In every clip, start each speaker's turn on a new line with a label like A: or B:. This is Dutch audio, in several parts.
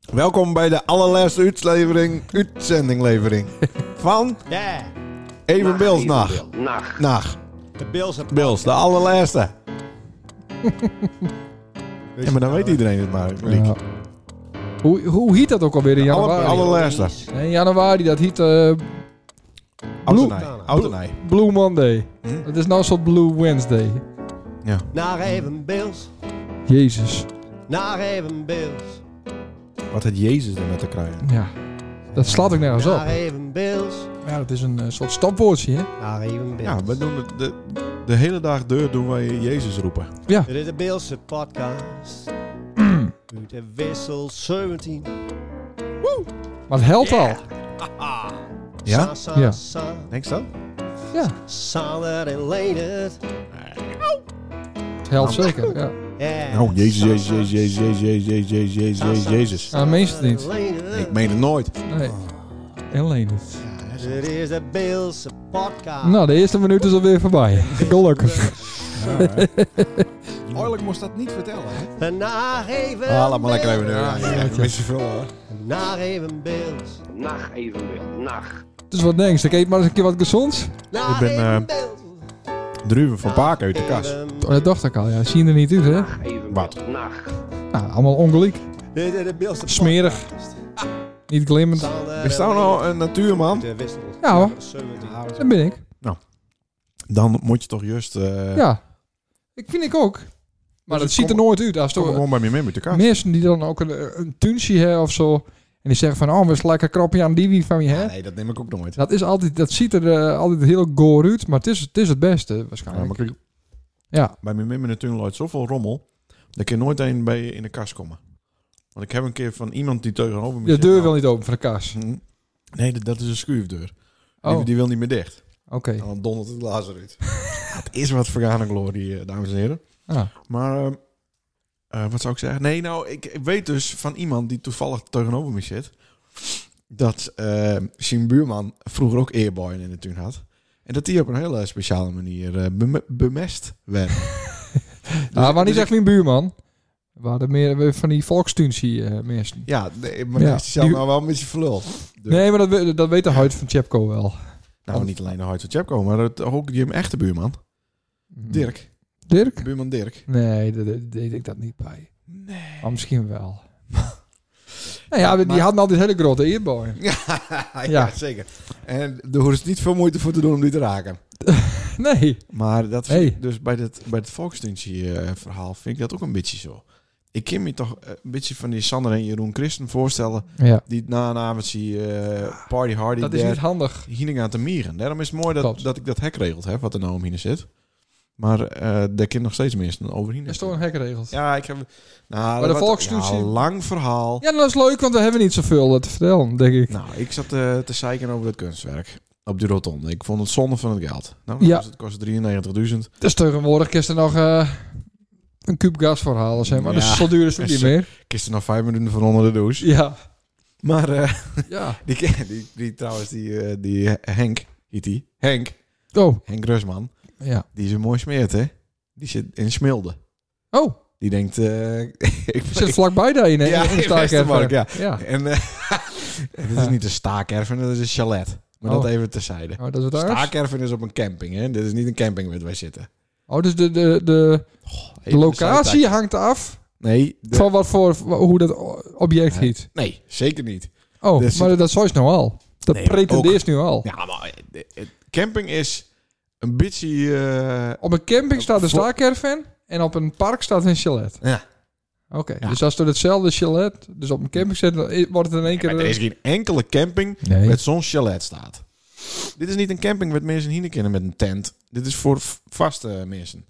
A: Welkom bij de allerlaatste uitlevering, uitzendinglevering van
B: Ja,
A: Even Bilsnacht.
C: Nacht.
A: Nacht.
B: de Bills het
A: Bils, de allerlaatste. ja, maar dan weet iedereen het maar, Liek.
D: Ja. Hoe, hoe heet dat ook alweer in
A: Alle,
D: januari?
A: allerlaatste.
D: In januari, dat heet eh,
A: Oudenij. Oudenij.
D: Blue Monday.
A: Hm?
D: Dat is nou een soort Blue Wednesday.
B: Naar even Bills,
D: Jezus.
B: naar even Bills,
A: Wat had Jezus er met te krijgen?
D: Ja. Dat slaat ook nergens
B: naar
D: op.
B: even Bills,
D: Ja, dat is een eh, soort stopwoordje, hè?
B: naar even Bills.
A: Ja, we doen het de, de hele dag deur doen wij Jezus roepen.
B: Dit is de Beelse podcast. Uit de wissel 17.
D: Maar het helpt al.
A: Ja?
B: Sa, sa,
D: Ja.
B: sa.
A: Denk je dat?
D: Ja,
B: Sander en Leendert.
D: het helpt zeker. Ja.
B: Ja.
A: Nou, Jezus,
B: Sa,
A: Jezus,
B: sa,
A: Jezus, Jezus, Jezus, Jezus, Jezus, Jezus,
B: sa,
A: Jezus,
B: sa,
A: Jezus.
B: sa,
D: Ah, meen je het niet?
B: en Leendert.
A: Ik meen het nooit.
D: Nee. En alleen het.
B: Dit is de Beelse podcast.
D: Nou, de eerste minuut is alweer voorbij. Gelukkig.
E: Oorlijk moest dat niet vertellen, hè?
B: Naar even
A: Ah, laat maar lekker even
B: Bills,
A: deur. Ja, ja, ja. Beetje veel hoor.
B: Naar even Bills,
C: Nacht evenbeeld. Nacht.
D: Dus wat denk je? Ik eet maar eens een keer wat gezonds.
B: naar
A: ben,
B: even
A: eh,
B: Bills.
A: Druven van Paak uit de kast.
B: Even
D: Oh, dat dacht ik al, ja. Zien er niet uit, hè?
C: Evenbeeld.
A: Wat?
C: Nacht.
D: Nou, allemaal ongelijk.
B: Dit is de Beelse
D: Smerig.
B: podcast.
D: Niet glimmend.
A: Is dat nou een natuurman?
B: De wissel.
D: Ja, hoor.
B: Ja,
D: Dat ben ik.
A: Dan moet je toch juist... eh,
D: Ja. Dus Ik vind ik ook. Maar dat
A: het
D: ziet er
A: komt-
D: nooit uit. Als
A: Toch
D: toch
A: gewoon bij me mee met de kast.
D: mensen die dan ook een, een tuintje hebben of zo. En die zeggen van, oh, we is lekker kropje aan die wie van je hè.
A: Nee, dat neem ik ook nooit.
D: Dat, is altijd, dat ziet er eh, altijd heel goor uit. Maar het is, het is het beste
A: Ja,
D: waarschijnlijk.
A: maar kijk,
D: Ja.
A: bij mijn mimmen natuurlijk loopt zoveel rommel. Dat kan nooit een bij je in de kast komen. Want ik heb een keer van iemand die tegenover me
D: De
A: zit,
D: deur
A: nou,
D: wil niet open van de kaas.
A: hm, Nee, dat, dat is een schuifdeur.
D: Oh,
A: Die,
D: oké.
A: die wil niet meer dicht. En dan dondert het lazer uit. Het is wat vergane glorie, eh, dames en heren.
D: Ah,
A: Maar ehm, eh, wat zou ik zeggen? Nee, nou, ik, ik weet dus van iemand die toevallig tegenover me zit. Dat ehm zijn buurman vroeger ook eerboyen in de tuin had. En dat die op een hele speciale manier eh, beme- bemest werd.
D: nou, maar niet
A: dus
D: echt wie een buurman. We hadden meer van die volkstuntie eh, mensen.
A: Ja, nee, maar
D: Ja,
A: dat is zelf
D: die-
A: nou wel een beetje verluld. Dus-
D: Nee, maar dat, we- dat weet de huid van Chepco wel.
A: Nou, niet alleen de Hart van Chapco, maar het, ook je echte buurman.
D: Hmm.
A: Dirk.
D: Dirk?
A: Buurman Dirk.
D: Nee, daar daar deed ik dat niet bij.
A: Nee.
D: Maar misschien wel. nou ja, die hadden altijd hele grote eerboy.
A: Ja,
D: Ja.
A: zeker. En er hoeft dus niet veel moeite voor te doen om die te raken.
D: Nee.
A: Maar dat
D: Hey.
A: vind ik dus bij het, bij het Volkstuntie-verhaal vind ik dat ook een beetje zo. Ik kan me toch eh, een beetje van die Sander en Jeroen Christen voorstellen...
D: Ja.
A: die na een avondje eh party hardy
D: Dat is niet handig.
A: Hining aan te mieren. Daarom is het mooi dat,
D: Klopt.
A: dat ik dat hek regeld heb, wat er nou omheen zit. Maar eh daar kan nog steeds mensen overheen.
D: Er is toch een hekregel. Ja.
A: Ja, ik heb... Nou,
D: Maar de
A: dat was-
D: volkscultuur-
A: ja, lang verhaal.
D: dat is leuk, want we hebben niet zoveel eh, te vertellen, denk ik.
A: Nou, ik zat eh, te zeiken over het kunstwerk. Op die rotonde. Ik vond het zonde van het geld. Nou,
D: Ja.
A: ja. het kostte 93.000.
D: Dus tegenwoordig kun je er nog eh, een kuub gas voor halen, zeg maar.
A: Ja.
D: Dus zo duur is het ook niet meer.
A: Ik is er nog vijf minuten van onder de douche.
D: Ja.
A: Maar eh,
D: Ja.
A: die, die, die, trouwens, die, eh, die Henk, heet die. Henk,
D: Oh.
A: Henk Rusman.
D: Ja.
A: Die is een mooi smeert, hè? Die zit in Smilde.
D: Oh,
A: Die denkt... eh, ik
D: zit vlakbij daar in, hè?
A: Ja,
D: in
A: in Westermark, ja.
D: ja.
A: En eh, dit is niet een staakerven, dat is een chalet. Maar
D: Oh.
A: dat even terzijde.
D: Oh, dat is het ergst.
A: Staakerven is op een camping, hè? Dit is niet een camping waar wij zitten.
D: Oh, dus de, de, de, de
A: Even
D: locatie
A: zijtak.
D: hangt af
A: Nee, de-
D: van wat voor, hoe dat object
A: Ja.
D: heet.
A: nee, zeker niet.
D: Oh,
A: Dus-
D: maar dat zou je nou al. Dat
A: Nee,
D: pretendeert nu al.
A: Ja, maar eh, de- het- camping is een beetje... eh,
D: Op een camping staat een
A: Voor-
D: staakerven en op een park staat een chalet.
A: Ja.
D: Oké,
A: Ja.
D: dus als door hetzelfde chalet, dus op een camping zit, dan i- wordt het in één keer...
A: maar er is geen enkele camping
D: nee.
A: met zo'n chalet staat. Dit is niet een camping met mensen hier kennen met een tent. Dit is voor v- vaste mensen.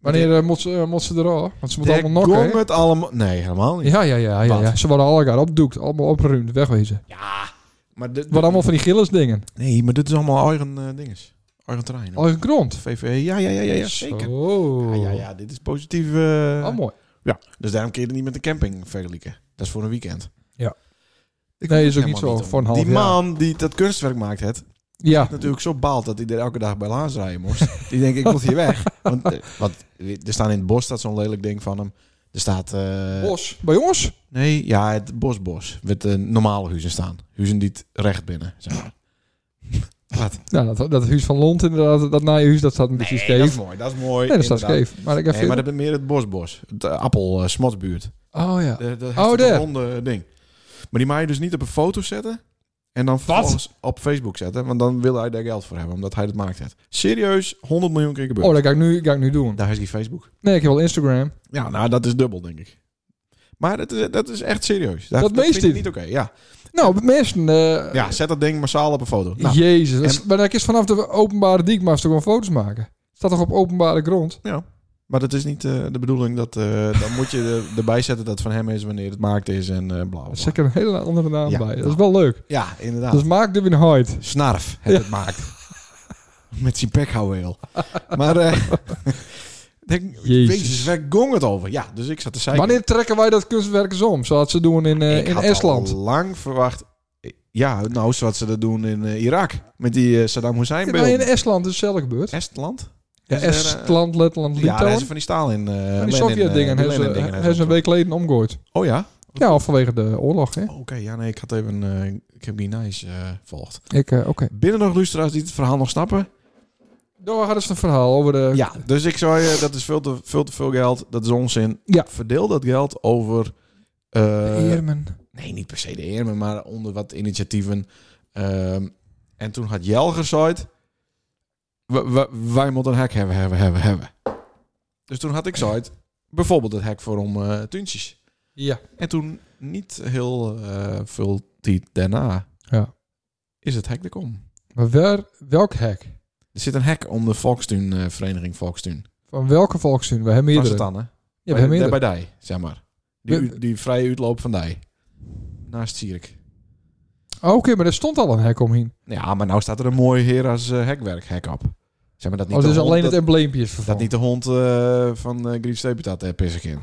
D: Wanneer eh, moet, ze, eh, moet ze eraf? Want ze moeten
A: Daar
D: allemaal nokken.
A: gong
D: hè?
A: het allemaal... Nee, helemaal niet.
D: Ja, ja, ja, ja,
A: Wat?
D: ja. Ze worden al elkaar opdoekt, allemaal opgeruimd, wegwezen.
A: Ja, maar dit...
D: Wat allemaal van die gilles dingen.
A: Nee, maar dit is allemaal eigen eh, dinges. Eigen terrein.
D: Al grond.
A: VVE, ja, ja, ja, ja, ja zeker. Ah,
D: Zo.
A: Ja, ja, ja, dit is positief. eh,
D: Oh, mooi.
A: ja, dus daarom kun je het niet met een camping vergelijken. Dat is voor een weekend.
D: Ja.
A: Ik
D: Nee,
A: weet
D: is ook niet
A: helemaal
D: zo voor een half
A: Die
D: jaar.
A: man die dat kunstwerk maakt, het
D: Ja,
A: natuurlijk zo baalt dat hij er elke dag bij Laans rijden moest. die denkt, ik moet hier weg. Want, eh, want er staan in het bos staat zo'n lelijk ding van hem. Er staat... eh,
D: Bos, bij ons?
A: Nee, ja, het bosbos. Met de normale huizen staan. Huizen die het recht binnen, zeg maar. Wat?
D: Nou, dat, dat huis van Lont inderdaad, dat naaie huis, dat staat een beetje
A: dat
D: scheef.
A: is mooi. Dat is mooi.
D: nee, dat staat
A: inderdaad.
D: scheef. Maar ik heb
A: Nee, maar dat is meer het bosbos. De appel eh, smotsbuurt.
D: Oh ja.
A: De, de,
D: Oh,
A: dat
D: daar.
A: ronde ding. Maar die mag je dus niet op een foto zetten. En dan vervolgens op Facebook zetten. Want dan wil hij daar geld voor hebben. Omdat hij dat maakt. Het. Serieus, 100 miljoen keer gebeurd.
D: Oh, dat ga ik nu, ga ik nu doen.
A: Daar is die Facebook.
D: Nee, ik heb wel Instagram.
A: Ja, nou, dat is dubbel, denk ik. Maar dat is, dat is echt serieus. Dat,
D: Dat meest
A: vind ik
D: dit.
A: niet oké. Ja.
D: Nou, mensen... eh
A: ja, zet dat ding massaal op een foto. Nou,
D: Jezus. dat is-
A: en-
D: maar dan is vanaf de openbare diek maar ze toch gewoon foto's maken. Het staat toch op openbare grond?
A: Maar dat is niet eh, de bedoeling. Dat, eh, dan moet je er- erbij zetten dat het van hem is wanneer het maakt is en eh bla, bla,
D: Er
A: bla.
D: is zeker een hele andere naam
A: Ja.
D: bij. Dat is wel leuk.
A: Ja, inderdaad.
D: Dus maak de Hyde.
A: Snarf het,
D: Ja.
A: het maakt. Met zijn pekhouweel. maar eh denk,
D: Jezus.
A: Jezus. waar gong het over? Ja, dus ik zat te zeiken.
D: Wanneer trekken wij dat kunstwerk eens om? Zoals ze doen in, eh,
A: Ik
D: in
A: had
D: Estland.
A: al lang verwacht. Ja, nou, zoals ze dat doen in eh, Irak. Met die eh, Saddam Hussein
D: Ja, nou, in
A: beelden.
D: Estland is hetzelfde gebeurd.
A: Estland?
D: Ja,
A: Is er, eh,
D: Estland, Letland,
A: Ja, daar
D: Litouwen.
A: hebben ze van die Stalin. eh
D: En die
A: Lenin,
D: Sovjet-dingen
A: eh,
D: hebben ze-
A: Lenin-dingen
D: hebben ze een week geleden omgooid.
A: Oh ja?
D: Ja, vanwege de oorlog. Hè?
A: Oké, ja, nee, ik had even... eh, ik heb die nice eh volgt.
D: Ik, eh, oké.
A: Binnen nog luisteraars die het verhaal nog snappen?
D: Daar had ze een verhaal over de...
A: Ja, dus ik zou je, dat is veel te veel, te veel geld, dat is onzin.
D: Ja.
A: Verdeel dat geld over, eh,
D: Heermen.
A: nee niet per se de Heermen, maar onder wat initiatieven. Ehm, en toen had Jel gezegd, "We- we- wij moeten een hek hebben, hebben, hebben, hebben. Dus toen had ik gezegd, bijvoorbeeld het hek voor om eh tuintjes.
D: Ja.
A: En toen niet heel eh, veel tijd daarna
D: Ja.
A: is het hek er kom.
D: Maar waar, welk hek?
A: Er zit een hek om de eh, Volkstuinvereniging Volkstuin.
D: Van welke volkstuin? We hebben
A: Was het
D: meerdere.
A: dan, hè?
D: Ja, we hebben
A: bij,
D: meerdere.
A: bij die, zeg maar. Die,
D: We-
A: u- die vrije uitloop van die. Naast Zierik.
D: Oh, Oké, maar er stond al een hek omheen.
A: Ja, maar nou staat er een mooi heer als eh, hekwerk, hek op. Zeg maar dat niet
D: Oh,
A: de
D: dus
A: hond,
D: alleen het
A: dat,
D: embleempje is
A: dat
D: vervangen.
A: niet de hond eh, van eh Griet Stepetat uh, pis ik in.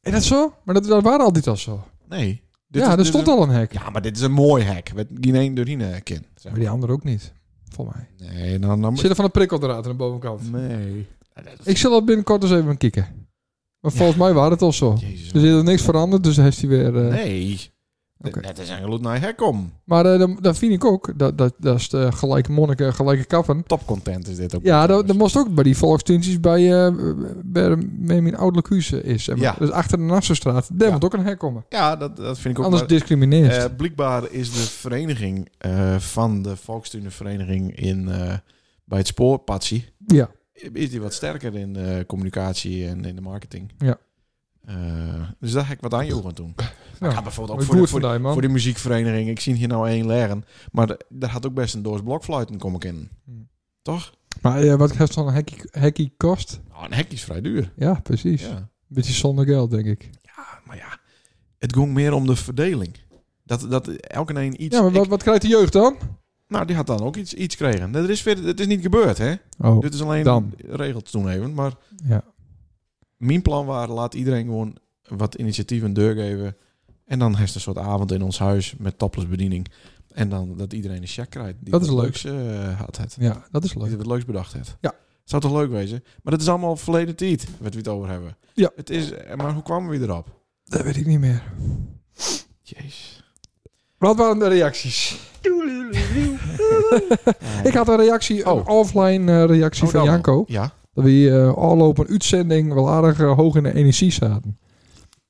D: Is dat zo? Maar dat, dat waren altijd al zo.
A: Nee.
D: ja, er stond
A: een-
D: al een hek.
A: Ja, maar dit is een mooi hek. Met geen één doorheen hek in. zeg
D: Maar
A: maar.
D: die andere ook niet. Volgens mij.
A: Nee, dan... dan
D: Zit er van een prikkeldraad aan de bovenkant.
A: Nee. Ja, dat is-
D: Ik zal al binnenkort eens even kijken. Maar volgens mij waren het al zo.
A: Jezus.
D: Dus er is niks veranderd, dus heeft hij weer... eh,
A: nee.
D: Oké.
A: Net is een geloed naar hek om.
D: Maar eh, dan, dan vind ik ook, dat, dat, dat is de gelijke monniken, gelijke kappen.
A: Topcontent is dit ook.
D: Ja, dat, dat
A: trouwens.
D: moest ook bij die volksdienstjes bij, eh bij mijn ouderlijk huis is. zeg maar.
A: Ja.
D: Dus achter de Nassenstraat, daar
A: Ja.
D: moet ook een hek komen.
A: Ja, dat, dat vind ik ook...
D: Anders
A: maar-
D: discrimineert.
A: Eh, blijkbaar is de vereniging eh, van de Volkstunenvereniging in eh, bij het spoor, Patsy,
D: ja.
A: is die wat sterker in de communicatie en in de marketing.
D: Ja.
A: Eh, dus daar heb ik wat aan Joren toen.
D: Ja.
A: Ik had bijvoorbeeld ook
D: Maar
A: voor de,
D: goed
A: voor, de,
D: vandaag, man.
A: voor de muziekvereniging. Ik zie hier nou één leren. Maar de- daar had ook best een doos blokfluiten kom ik in.
D: Maar eh, wat gaat zo'n hekkie, hekkie kost?
A: Nou, een hek is vrij duur.
D: Ja, precies.
A: Ja.
D: Beetje zonder geld, denk ik.
A: Ja, Ah, maar ja, het ging meer om de verdeling. Dat, dat elke een iets...
D: Ja, maar wat,
A: ik-
D: wat krijgt de jeugd dan?
A: nou, die had dan ook iets, iets kregen. Dat is, weer, dat is niet gebeurd, hè?
D: Oh,
A: Dit is alleen
D: Dan.
A: regels toen even. Maar
D: Ja.
A: mijn plan was, laat iedereen gewoon wat initiatieven een deur geven. En dan heeft een soort avond in ons huis met topless bediening. En dan dat iedereen een check krijgt. Die
D: Dat is
A: wat
D: leuk.
A: Leuks, eh, had het.
D: ja, dat is
A: Die
D: leuk.
A: het leuks bedacht heeft.
D: Ja.
A: Zou toch leuk wezen? Maar dat is allemaal verleden tijd, wat we het over hebben.
D: Ja.
A: Het is, eh, maar hoe kwamen we erop?
D: Dat weet ik niet meer.
A: Jezus.
D: Wat waren de reacties? Ik had een reactie, een
A: Oh.
D: offline eh, reactie
A: Oh,
D: van
A: dan wel.
D: Janko.
A: Ja.
D: Dat we eh al op een uitzending wel aardig eh, hoog in de energie zaten.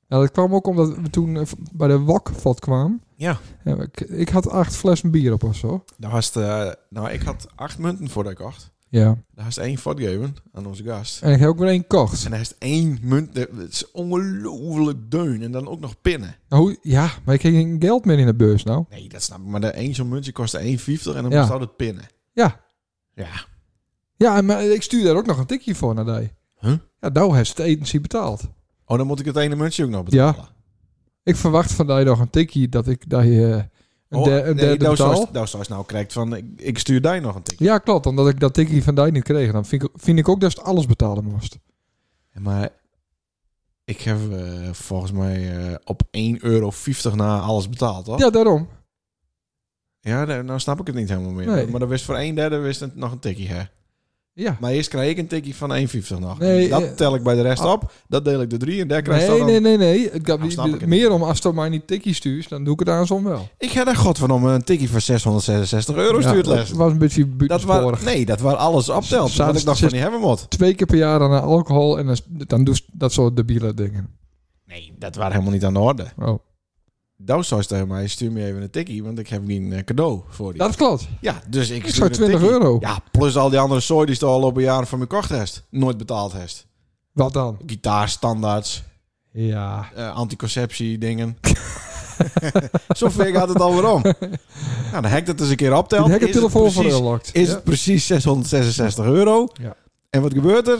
D: Nou, dat kwam ook omdat we toen eh, v- bij de Wokvat kwamen.
A: Ja.
D: En ik, ik had acht flessen bier op of zo.
A: Daar was het, eh, nou, ik had acht munten voordat ik kocht.
D: Ja.
A: Daar was het één voortgeven aan onze gast.
D: En ik heb ook weer één gekocht.
A: En hij heeft één munt. Het is ongelooflijk deun. En dan ook nog pinnen.
D: Nou, hoe- ja, maar ik kreeg geen geld meer in de beurs nou.
A: Nee, dat snap ik. Maar de één zo'n muntje kostte 1,50 en dan
D: Ja.
A: moest het pinnen.
D: Ja.
A: Ja.
D: Ja, en maar ik stuur daar ook nog een tikje voor naar die.
A: Huh?
D: Ja, nou heeft het agency betaald.
A: Oh, dan moet ik het ene muntje ook nog betalen. Ja.
D: Ik verwacht van die nog een tikje dat ik daar eh, een,
A: Oh,
D: der- een
A: nee,
D: derde
A: nou,
D: betaal.
A: zoals, nou, zoals nou krijgt van, ik, ik stuur daar nog een tik.
D: Ja, klopt. Omdat ik dat tikje van die niet kreeg. Dan vind ik, vind ik ook dat ze alles betalen moest.
A: Maar ik heb eh, volgens mij eh, op 1,50 euro na alles betaald, toch?
D: Ja, daarom.
A: Ja, nou nou snap ik het niet helemaal meer.
D: Nee.
A: Maar dan wist voor een derde wist het nog een tikje, hè?
D: Ja.
A: Maar eerst krijg ik een tikkie van 1,50 nog.
D: Nee,
A: dat
D: eh,
A: tel ik bij de rest
D: ah.
A: op. Dat deel ik de drie en daar krijg je
D: Nee,
A: dan...
D: nee, nee, nee. Het gaat
A: Nou, snap ik het.
D: meer om als het mij niet tikkie stuurt, dan doe ik het andersom wel.
A: Ik ga daar god van om een tikkie van 666 euro
D: Ja,
A: stuurt
D: Dat
A: les.
D: was een beetje
A: Dat waar,
D: buitensporig.
A: nee, dat waar alles optelt.
D: Zaten
A: Dat ik nog
D: zes-
A: van die hebben moet.
D: Twee keer per jaar aan alcohol en dan, dan doe je dat soort debiele dingen.
A: Nee, dat waren helemaal niet aan de orde.
D: Oh.
A: Douw zei tegen mij, stuur me even een tikkie, want ik heb geen eh, cadeau voor die.
D: Dat klopt.
A: Ja, dus ik
D: Ik
A: stuur
D: zag
A: een
D: 20
A: tikkie.
D: euro.
A: Ja, plus al die andere zooi die je al op een jaar van me kocht hebt. Nooit betaald hebt.
D: Wat dan?
A: Gitaarstandaards,
D: Ja.
A: eh anticonceptie dingen. Zover gaat het alweer om. Nou, dan hek ik dat eens een keer
D: Die
A: optelt.
D: hekken
A: Is het
D: telefoon
A: precies-
D: veroorlokt.
A: Is
D: Ja.
A: het precies 666 euro?
D: Ja.
A: En wat gebeurt er?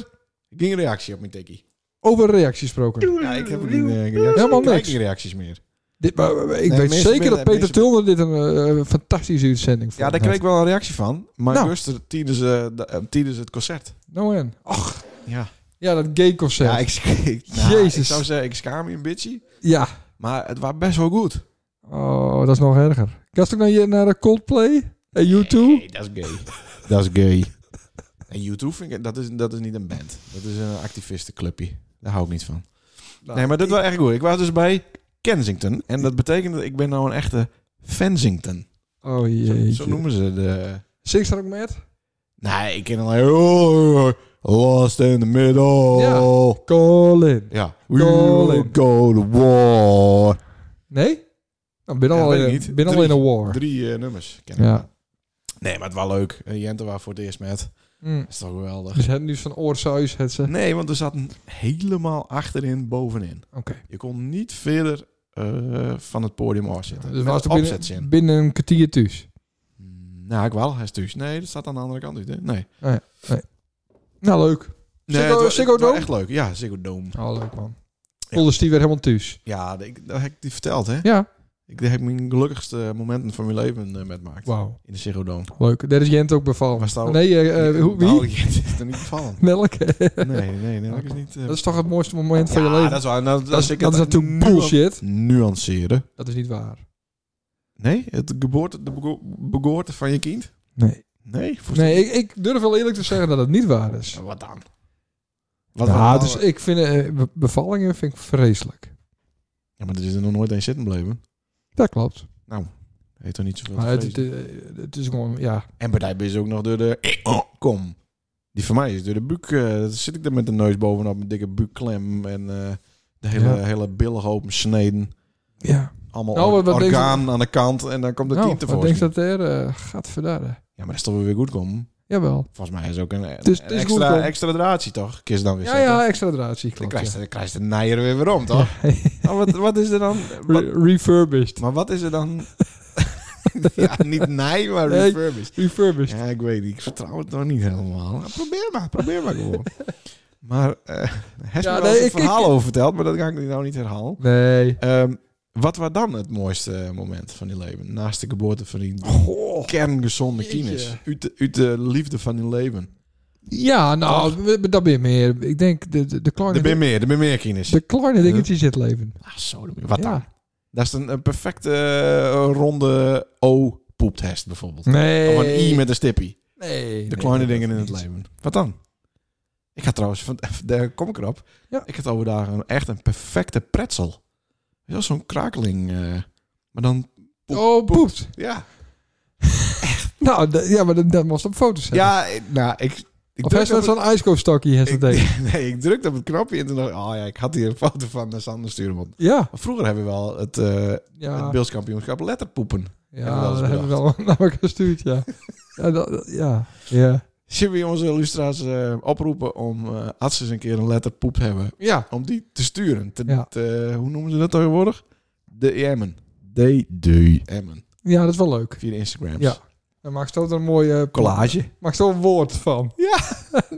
A: Ik ging een reactie op mijn tikkie.
D: Over reactie gesproken.
A: Ja, ik heb geen eh, reactie.
D: Helemaal
A: Ik krijg
D: niks.
A: geen reacties meer.
D: Dit, maar, maar, maar, ik
A: Nee,
D: weet
A: mensen
D: zeker dat
A: willen-
D: Peter
A: mensen-
D: Tilner dit een eh, fantastische uitzending vond.
A: Ja, daar kreeg ik wel een reactie van. Maar
D: Nou.
A: rustig tijdens, eh, de- eh, tijdens het concert.
D: Nou en? Och,
A: Ja.
D: ja, dat gay concert.
A: Ja,
D: Ja,
A: ik, ik, nou,
D: Jezus.
A: ik zou zeggen, ik schaam me een beetje. Maar het was best wel goed.
D: Oh, dat is nog erger. Kast ik nou hier naar de Coldplay? En U2?
A: Nee, dat is gay. dat is gay. En YouTube vind ik, dat is, dat is niet een band. Dat is een activistenclubje. Daar hou ik niet van.
D: Nou,
A: nee, maar dit was echt goed. Ik was dus bij Kensington. En dat betekent dat ik ben nou een echte Fensington.
D: Oh
A: Zo,
D: jee.
A: zo noemen ze de...
D: Six er ook met?
A: Nee, ik ken alleen... Lost in the middle.
D: Ja. Colin.
A: Ja. We
D: Colin.
A: go to war.
D: Nee? Nou, ben
A: Ja,
D: al,
A: weet
D: in,
A: ik niet.
D: ben al
A: Drie.
D: in een war.
A: Drie eh, nummers ken ik.
D: Ja.
A: Nee, maar het was leuk. Eh, Jente was voor het eerst met. Dat
D: Mm.
A: is toch geweldig.
D: Dus het nieuws van Oorsuis, het ze.
A: Nee, want we zaten helemaal achterin, bovenin.
D: Oké.
A: Je kon niet verder eh, van het podium afzitten.
D: Dus
A: Dus was
D: was er
A: opzet
D: binnen,
A: zin.
D: binnen een kwartier thuis.
A: Nou, ik wel. Hij is thuis. Nee, dat staat aan de andere kant uit. Hè? Nee.
D: Nou, leuk.
A: nee
D: Ziggo-
A: het wa-
D: Ziggo
A: het wa
D: Dome?
A: echt leuk. Ja, Ziggo Dome.
D: Oh, leuk man.
A: Ja.
D: Olders die weer helemaal thuis.
A: Ja, dat ik- dat heb ik die verteld, hè?
D: Ja.
A: Ik dat heb ik mijn gelukkigste momenten van mijn leven eh, met maakt.
D: Wauw.
A: In de Ziggo Dome.
D: Leuk. Daar is Jent ook bevallen.
A: Was dat-
D: nee, eh, eh, hoe- wie?
A: Nou, je- het is er niet bevallen.
D: Melk.
A: Nee, nee, nee. Dat is niet... eh,
D: dat is toch het mooiste moment van je
A: ja,
D: leven?
A: dat is waar. Nou,
D: Dat is,
A: als ik
D: dat is
A: het
D: natuurlijk
A: nuan-
D: bullshit.
A: Nuanceren.
D: Dat is niet waar.
A: Nee? Het geboorte, de bego- begoorte van je kind?
D: Nee.
A: Nee? Voor-
D: Nee, ik, ik durf wel eerlijk te zeggen dat het niet waar is.
A: Ja, Wat dan? Wat wat
D: Ja,
A: dan?
D: dus ik vind eh, be- bevallingen vind ik vreselijk.
A: Ja, maar er is er nog nooit een zitten blijven.
D: Dat klopt.
A: Heet toch niet zoveel.
D: Maar
A: te
D: het, het,
A: vrezen?
D: eh, het is gewoon, ja.
A: En bij die ben je ook nog door de... Ik- oh, Kom. Die van mij is door de buik... eh, dan zit ik er met de neus bovenop, een dikke buikklem en eh, de hele,
D: Ja.
A: hele billig open sneden.
D: Ja.
A: Allemaal
D: Nou, wat-
A: or-
D: wat denk je-
A: orgaan aan de kant en dan komt de
D: Nou,
A: team
D: wat denk
A: tevoorschijn.
D: je dat er eh, gaat verder?
A: Ja, maar dat is toch wel weer goed komen.
D: Jawel.
A: Volgens mij is ook een,
D: Dus-
A: een
D: dus goed
A: extra,
D: komen.
A: extra draadje, toch? Kist dan weer
D: Ja,
A: zetten.
D: ja, extra draadje.
A: Dan
D: Klopt,
A: krijg je,
D: ja.
A: dan krijg je de nijer weer weer om, toch? Nou, wat, wat is er dan... Wat,
D: Re- refurbished.
A: Maar wat is er dan? ja, niet nee, maar
D: Nee.
A: refurbished.
D: Refurbished.
A: Ja, ik weet niet. Ik vertrouw het nog niet helemaal. Nou, probeer maar, probeer maar gewoon. Maar eh heb je wel
D: Ja, nee,
A: eens een
D: ik-
A: verhaal
D: ik-
A: over verteld, maar dat ga ik nou niet herhalen.
D: Nee.
A: Ehm, wat was dan het mooiste moment van je leven? Naast de geboorte van die kerngezonde
D: Jeetje.
A: kines. Uit de, uit de liefde van je leven.
D: Ja, nou, we- we- dat ben je meer. Ik denk, de, Oh, de, de kleine,
A: Er ben meer, er ben meer kines.
D: de kleine dingetjes in het leven.
A: Ah, zo, wat
D: ja.
A: dan? Dat is een, een perfecte eh, ronde O-poeptest bijvoorbeeld.
D: Nee.
A: Of een I met een stippie.
D: nee,
A: De
D: nee,
A: kleine
D: dat
A: dingen in
D: niet.
A: het leven. Wat dan? Ik had trouwens, van, daar kom ik erop.
D: Ja.
A: Ik had overdag een, echt een perfecte pretzel. Weet je wel, zo'n krakeling. eh, maar dan, Poep,
D: Oh, poept.
A: ja.
D: Nou, d- ja, maar dat, dat moest op foto's zijn.
A: Ja, eh, nou, ik... ik
D: of hij is
A: drukte
D: net
A: op
D: zo'n ijskoopstokje, heeft
A: het-
D: dat ding.
A: ik- Nee, ik drukte op het knopje en toen dacht ik, oh ja, ik had hier een foto van naar Sander Sturemond.
D: Ja,
A: Vroeger hebben we wel het, eh
D: ja.
A: het beeldskampioenschap letterpoepen.
D: ja,
A: hebben we wel eens
D: dat hebben we wel naar elkaar gestuurd, ja. ja, dat, dat- ja. ja.
A: Zullen we onze illustra's eh, oproepen om, eh, als ze eens een keer een letterpoep hebben,
D: Ja,
A: om die te sturen. Te,
D: Ja.
A: te- hoe noemen ze dat tegenwoordig? DM'en. DM'en.
D: ja, dat is wel leuk.
A: Via de Instagrams.
D: Ja. Dan maak je een mooie... eh,
A: Collage.
D: Maak zo een woord van. Ja.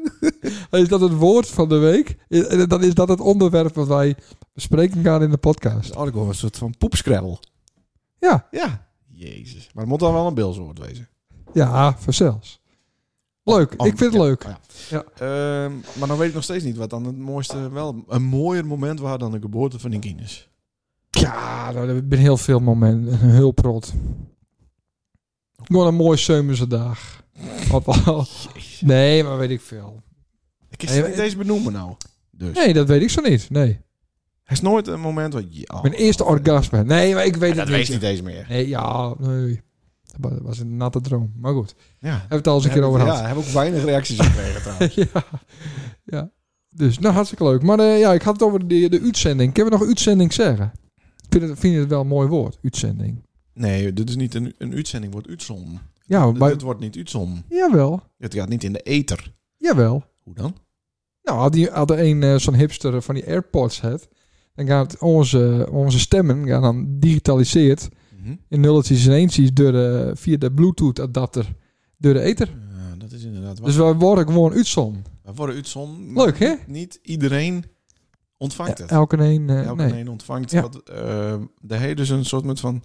D: is dat het woord van de week? I- Dan is dat het onderwerp wat wij bespreken gaan in de podcast.
A: Dus eigenlijk wel een soort van poepscrabble.
D: Ja.
A: Ja. Jezus. Maar het moet dan wel een bilzoord wezen.
D: Ja, voor zelfs. Leuk,
A: Oh,
D: ik vind
A: ja.
D: het leuk.
A: Oh, ja. Ehm, maar dan weet ik nog steeds niet wat dan het mooiste, wel een mooier moment was dan de geboorte van die kinders.
D: Ja, nou, er zijn heel veel momenten. Een hulprot. Gewoon een mooi zomerse dag. Wat wel- nee, maar weet ik veel.
A: Ik kan het niet
D: Eh,
A: eens benoemen nou. Dus.
D: Nee, dat weet ik zo niet. Nee.
A: Er is nooit een moment waar... je- oh,
D: Mijn eerste orgasme. Nee, maar ik weet
A: Ja,
D: het
A: dat
D: niet.
A: weet niet eens meer.
D: Nee, ja, nee. Dat wa- Dat was een natte droom. Maar goed, hebben
A: Ja.
D: we het al eens een keer over
A: ja,
D: gehad.
A: daar hebben we ook weinig reacties op gekregen trouwens.
D: ja. ja. Dus, nou, hartstikke leuk. Maar eh, ja, ik had het over de, de uitzending. Kunnen we nog uitzending zeggen? Ik vind het, vind het wel een mooi woord, uitzending.
A: Nee, dit is niet een, een uitzending, wordt uitzon.
D: Ja,
A: Het
D: maar,
A: Dit wordt niet uitzon.
D: jawel,
A: Het gaat niet in de ether.
D: jawel.
A: Hoe dan?
D: Nou, had, die, had er een eh, zo'n hipster van die AirPods had, dan gaat onze, onze stemmen gaan dan digitaliseerd
A: Mhm.
D: in nulletjes en eentjes door de, via de Bluetooth adapter door de ether.
A: Ja, dat is inderdaad waar.
D: Dus wij worden gewoon uitzon.
A: we worden uitzon. maar
D: Leuk, hè?
A: Niet iedereen ontvangt het.
D: Elke een. eh,
A: Elke
D: nee.
A: een ontvangt.
D: Ja.
A: Wat, eh, daar heeft dus een soort met van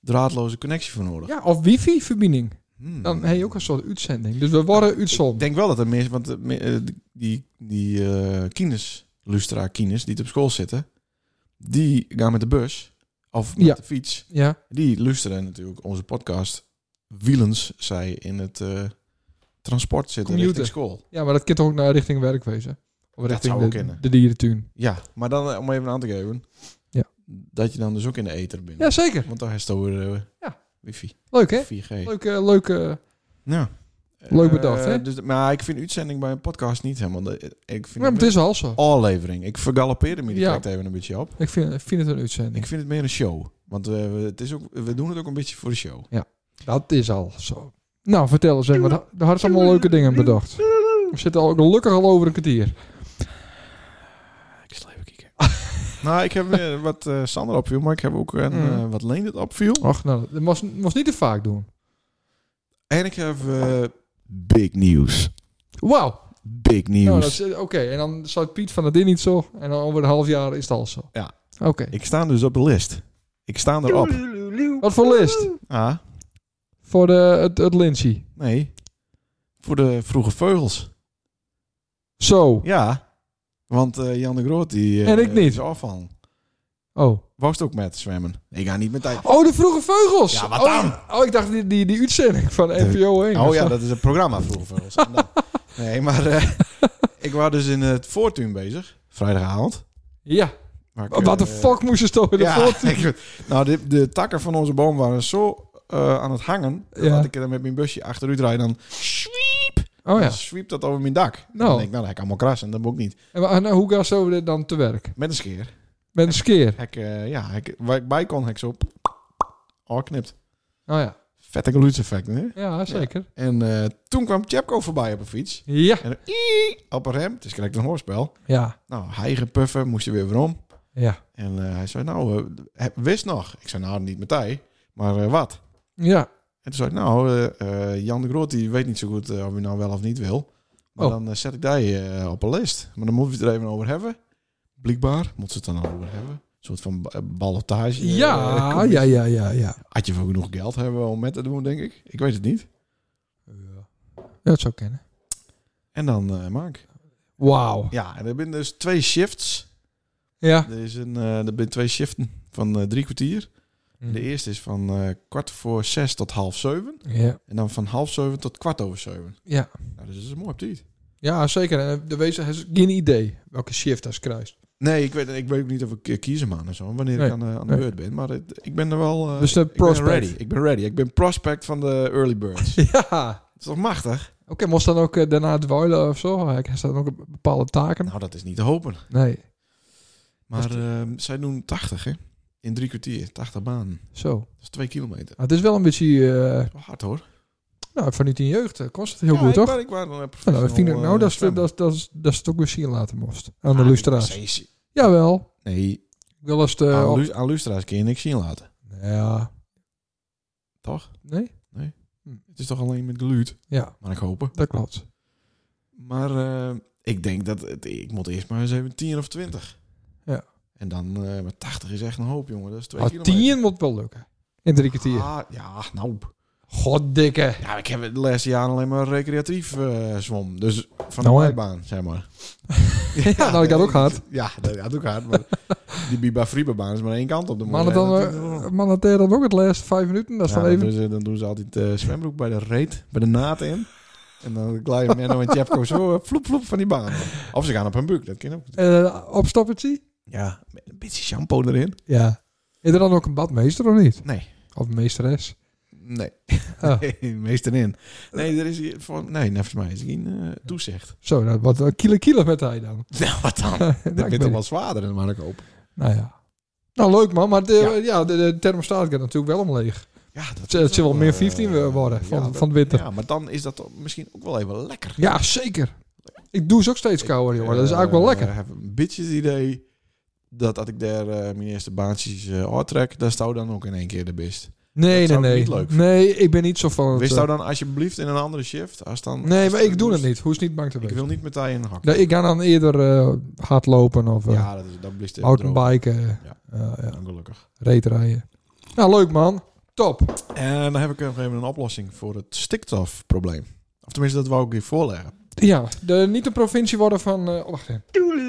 A: draadloze connectie voor nodig.
D: Ja, of wifi-verbinding.
A: Hmm.
D: Dan heb je ook een soort uitzending. Dus we worden
A: Ik
D: uitzon.
A: denk wel dat er meer, want eh, me- eh, die, die eh kines, Lustra kines, die op school zitten, die gaan met de bus of met
D: Ja.
A: de fiets.
D: Ja,
A: Die luisteren natuurlijk onze podcast. Wielens, zij in het eh, transport zitten
D: Commuter.
A: richting school.
D: ja, maar dat kan toch ook naar richting werkwezen? Of richting
A: zou ook
D: de,
A: kunnen.
D: de dierentuin?
A: Ja, maar dan eh, om even aan te geven,
D: Ja.
A: dat je dan dus ook in de ether bent.
D: Jazeker.
A: Want daar is het over eh,
D: Ja.
A: wifi,
D: Leuk, hè?
A: 4G.
D: Leuk, eh, leuk. eh,
A: Nou,
D: Leuk
A: eh,
D: bedacht, hè?
A: Dus, maar ik vind uitzending bij een podcast niet helemaal. de- eh, ik vind
D: maar het is al zo.
A: een aflevering. Ik vergalopeerde me die
D: Ja.
A: tijd even een beetje op.
D: Ik vind, ik vind het een uitzending.
A: Ik vind het meer een show. Want eh, we, het is ook, we doen het ook een beetje voor de show.
D: Dat is al zo. Nou, vertel eens, Emma. Daar hadden ze allemaal leuke dingen bedacht. We zitten al gelukkig al over een kwartier.
A: Ik sla even kijken. nou, ik heb weer wat eh, Sander opviel, maar ik heb ook een,
D: Mm.
A: eh, wat Leendert opviel.
D: Ach, nou, dat moest, moest niet te vaak doen.
A: En ik heb eh, big nieuws.
D: Wauw.
A: Big
D: Nou,
A: nieuws.
D: dat is- Oké, en dan zou Piet van het ding niet zo. En dan over een half jaar is het al zo.
A: Ja.
D: Oké.
A: Ik sta dus op de list. Ik sta erop.
D: Wat voor list?
A: Ah,
D: Voor de, het, het lintje.
A: nee. Voor de vroege vogels.
D: Zo.
A: Ja. Want eh, Jan de Groot die... eh,
D: En ik niet.
A: Is afvallen.
D: Oh.
A: Wou ook met zwemmen. Ik ga niet met tijd.
D: Oh, de vroege vogels.
A: Ja, wat
D: oh,
A: dan?
D: Oh, ik dacht die, die, die uitzending van NPO 1.
A: Oh ja, dat is het programma vroeger voor ons. Nou, Nee, maar eh, ik was dus in het voortuin bezig, vrijdagavond.
D: Ja.
A: Waar ik,
D: Wat de
A: eh,
D: fuck moesten ze toch in de
A: ja,
D: voortuin?
A: ik- nou, de, de takken van onze boom waren zo eh, aan het hangen.
D: Ja.
A: Dat ik er met mijn busje achteruit rijd en dan
D: Oh ja.
A: sweep dat over mijn dak. En Dan
D: Nou.
A: denk ik, nou, dat heb ik allemaal krassen. Dat moet ik niet.
D: En, wa- en eh, hoe gaan ze er dan te werk?
A: Met een scheer.
D: Met een skeer.
A: Heb Ik, eh, ja, heb ik, waar ik bij kon, heb ik zo knipt.
D: Oh ja.
A: Vette geluidseffect, hè?
D: Ja, zeker.
A: En eh, toen kwam Tjepko voorbij op een fiets.
D: Ja.
A: En dan, "Ii", op een rem. Dus krijg ik een hoorspel.
D: Ja.
A: Nou, hij gepuffen, moest je weer weer om.
D: Ja.
A: En eh, hij zei, nou, eh, heb- wist nog. Ik zei, nou, niet meteen, maar eh, wat?
D: Ja.
A: En toen zei ik, nou, eh, eh, Jan de Groot, die weet niet zo goed eh, of hij nou wel of niet wil. Maar
D: Oh.
A: dan eh, zet ik die eh, op een lijst. Maar dan moeten we het er even over hebben. Blijkbaar moeten ze het dan over hebben. Een soort van ba- eh, ballotage. eh,
D: Ja,
A: commissie.
D: ja, ja, ja, ja.
A: Had je wel genoeg geld hebben om met te doen, denk ik. Ik weet het niet.
D: Dat zou kennen.
A: En dan eh Mark.
D: Wauw.
A: Ja, en er zijn dus twee shifts.
D: Ja.
A: Er, is een, eh, er zijn twee shiften van eh, drie kwartier.
D: Mhm.
A: De eerste is van eh, kwart voor zes tot half zeven.
D: Ja.
A: En dan van half zeven tot kwart over zeven.
D: Ja.
A: Nou, dus dat is een mooi op tijd.
D: Ja, zeker. En eh, de wezen heeft geen idee welke shift hij kruist.
A: Nee, ik weet, ik weet ook niet of ik eh, kiezen man en zo. Wanneer
D: Nee.
A: ik aan, de- aan de
D: Nee.
A: beurt ben. Maar het- ik ben er wel... eh,
D: Dus de
A: ik-
D: prospect.
A: Ik ben ready. Ik ben ready. Ik ben prospect van de early birds.
D: Ja.
A: dat is toch machtig?
D: Oké, moest dan ook eh, daarna dweilen of zo? Hij heeft dan ook bepaalde taken?
A: Nou, dat is niet te hopen.
D: Nee.
A: Maar
D: Dat is-
A: ehm, zij doen 80, hè? In drie kwartier. 80 banen.
D: Zo.
A: Dat is twee kilometer.
D: Nou, het is wel een beetje... eh,
A: Dat is wel hard, hoor.
D: nou, vanuit die jeugd eh, kost het heel
A: Ja,
D: goed,
A: ik
D: toch?
A: ben- ik was een eh,
D: Nou, dat vind ik-
A: professional,
D: nou,
A: eh,
D: dat is, dat,
A: zwemmer.
D: is- dat, is, dat is het ook weer zien laten moest. Aan de
A: Ah,
D: lustra's.
A: precies.
D: Jawel.
A: Nee,
D: Ik wil als het... eh,
A: aan,
D: op-
A: Ah, lu- aan lustra's kun je niks zien laten.
D: ja.
A: Toch?
D: Nee?
A: Het is toch alleen met geluid?
D: Ja,
A: Maar ik hopen.
D: dat klopt.
A: Maar eh, ik denk dat het, ik moet eerst maar eens even 10 of 20.
D: Ja.
A: En dan, eh, maar 80 is echt een hoop, jongen. Dat is twee
D: Maar
A: kilometer.
D: Ah, tien moet wel lukken. In drie kwartier.
A: Ah, ja, nou.
D: Goddikke.
A: Ja, ik heb het de laatste jaren alleen maar recreatief eh zwom. Dus van
D: Nou,
A: de
D: hè.
A: bijbaan, zeg maar.
D: Ja, nou, ik had ook gehad.
A: Ja, dat had ik ook hard. Maar Die Biba Friebebaan is maar één kant op de
D: Maar dan, eh, man had daar dan ook het laatste vijf minuten. Dat is dan
A: dan,
D: even...
A: doen ze, dan doen ze altijd eh, zwembroek bij de reet, bij de naad in. En dan glijden Menno en Tjepko zo eh, floep floep van die baan. Of ze gaan op hun buik, dat kan ook.
D: eh opstoppertje?
A: Ja, met een beetje shampoo erin.
D: Ja. Is er dan ook een badmeester of niet?
A: Nee.
D: Of een meesteres?
A: Nee,
D: Oh,
A: nee meester in. Nee, er is hier voor, nee, nou, volgens mij is er geen eh, toezicht.
D: zo, nou, dat wordt wel kiele kiele met hij dan.
A: Nou, wat dan?
D: Nou,
A: Dat
D: ik weet
A: bent toch
D: niet.
A: wel zwaarder dan Marco.
D: Nou ja. Nou, leuk man. Maar de,
A: Ja.
D: ja. de, de thermostaat gaat natuurlijk wel omleeg.
A: Ja, dat
D: Het, het zal wel meer
A: eh,
D: 15 worden van,
A: ja, dat-
D: van de winter. Ja.
A: Ja, maar dan is dat toch misschien ook wel even lekker.
D: zeker. Ik doe ze ook steeds kouder, jongen. Dat is eigenlijk wel
A: Eh,
D: lekker.
A: Ik heb een beetje het idee dat als ik daar eh, mijn eerste baantjes eh uittrek, daar zou dan ook in één keer de best.
D: Nee,
A: dat
D: nee,
A: zou ik
D: nee.
A: niet leuk vinden.
D: nee, ik ben niet zo van... het,
A: Wist
D: eh,
A: jou dan alsjeblieft in een andere shift? Als dan,
D: nee,
A: als
D: maar
A: dan
D: ik doe dat
A: moest-
D: niet. Hoe is niet bang te
A: Ik
D: wezen.
A: wil niet met een hak.
D: Nee, ik ga dan eerder eh, hardlopen of eh,
A: ja, dat is dat blist even
D: mountainbiken. eh,
A: Ja.
D: eh, ja.
A: droog. Ongelukkig.
D: Reetrijden. Nou, leuk man. Top.
A: En dan heb ik nog even een oplossing voor het stikstofprobleem. Of tenminste, dat wou ik hier voorleggen.
D: Ja, de, niet de provincie worden van... eh, oh, wacht even.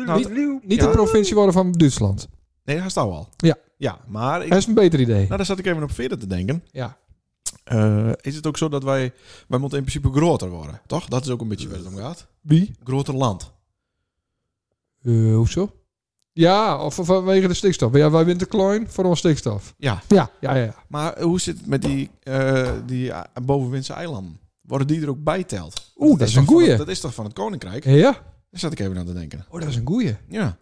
A: Nou, het-
D: Niet
A: Ja.
D: de provincie worden van Duitsland.
A: nee, daar staan we al.
D: Ja.
A: Ja, maar ik,
D: Dat is een beter idee.
A: nou, daar zat ik even op verder te denken.
D: Ja.
A: Eh, is het ook zo dat wij... Wij moeten in principe groter worden, toch? Dat is ook een beetje waar het om gaat.
D: Wie?
A: Groter land.
D: Eh, hoezo? Ja, of of vanwege de stikstof. Ja, wij winnen te klein voor onze stikstof.
A: Ja.
D: Ja, ja, ja.
A: Maar hoe zit het met die, eh die eh, bovenwindse eilanden? Worden die er ook bij teld?
D: Oeh, dat is een
A: toch van
D: goeie.
A: het- Dat is toch van het Koninkrijk?
D: Ja? ja?
A: Daar zat ik even aan te denken.
D: Oh, dat is een goeie.
A: Ja.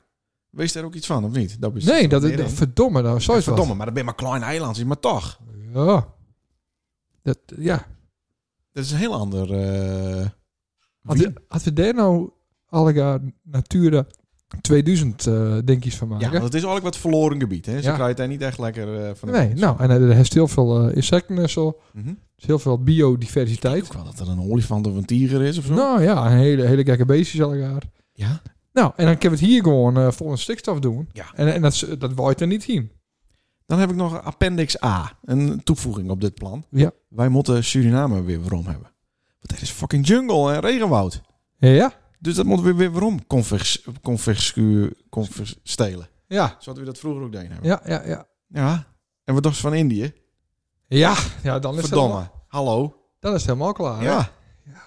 A: Wees daar ook iets van, of niet? Dat is
D: Nee, dat,
A: meer
D: dat,
A: in.
D: verdomme, nou, zo
A: Ja,
D: is
A: Verdomme, maar dat ben maar klein eilandje, maar toch.
D: wat. Ja. Dat, ja.
A: Dat is een heel ander... eh,
D: Had,
A: wie-
D: had we daar nou Allega Natura 2000 eh denkjes van
A: ja,
D: maken?
A: want het is eigenlijk wat verloren gebied. Hè? Ze
D: Ja.
A: krijgen het daar niet echt lekker eh, van. de
D: nee,
A: kans.
D: nou, en eh, er is heel veel eh, insecten en zo. Er
A: Mhm.
D: is heel veel biodiversiteit.
A: Ook wel dat er een olifant of een tiger is of zo.
D: Nou ja, een hele, hele gekke beestjes Allega.
A: Ja.
D: Nou, en dan kunnen we het hier gewoon eh volgens stikstof doen.
A: Ja.
D: En, en dat, is- dat waait er niet heen.
A: Dan heb ik nog appendix A, een toevoeging op dit plan.
D: Ja.
A: Wij moeten Suriname weer waarom hebben. Want dat is fucking jungle en regenwoud.
D: Ja?
A: Dus dat moeten we weer waarom convers, converscu, convers, stelen.
D: Ja.
A: Zoals we dat vroeger ook deden hebben.
D: Ja, ja, ja.
A: Ja. En wat dacht ze van Indië?
D: Ja, ja dan, is het helemaal,
A: Verdomme. Hallo.
D: dan is het helemaal klaar. hè?
A: Ja. Ah.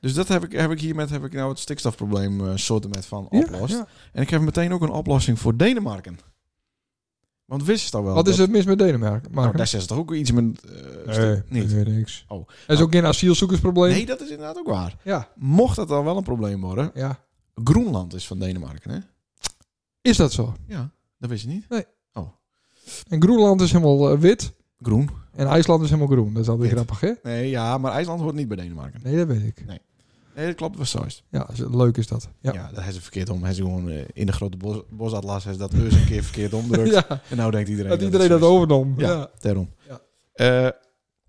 A: Dus dat heb ik, heb ik hiermet heb ik nou het stikstofprobleem eh soorten met van
D: Ja,
A: oplost.
D: ja.
A: En ik heb meteen ook een oplossing voor Denemarken. Want wist je dat wel?
D: Wat is
A: dat,
D: er mis met Denemarken?
A: Nou,
D: Marken?
A: daar zit toch ook iets met... eh,
D: nee,
A: stik- niet.
D: dat weet niks.
A: Oh.
D: Er is ook geen asielzoekersprobleem.
A: Nee, dat is inderdaad ook waar.
D: Ja,
A: Mocht dat dan wel een probleem worden,
D: ja.
A: Groenland is van Denemarken, hè?
D: Is dat zo?
A: Ja, dat wist je niet.
D: En Groenland is helemaal eh, wit
A: Groen?
D: en IJsland is helemaal groen. Dat is altijd
A: Wit.
D: grappig, hè?
A: Nee, ja, maar IJsland hoort niet bij Denemarken.
D: Nee, dat weet ik.
A: Nee, dat klopt, was zoist.
D: Ja, is- leuk is dat.
A: Ja.
D: Ja.
A: dat is het verkeerd om. Hij is gewoon eh, in de grote bos, bosatlas, hij is dat eens een keer verkeerd omdrukt.
D: Ja,
A: En nou denkt iedereen
D: dat iedereen dat
A: zo is.
D: overnam.
A: Ja.
D: Ja.
A: Daarom.
D: Ja.
A: Eh,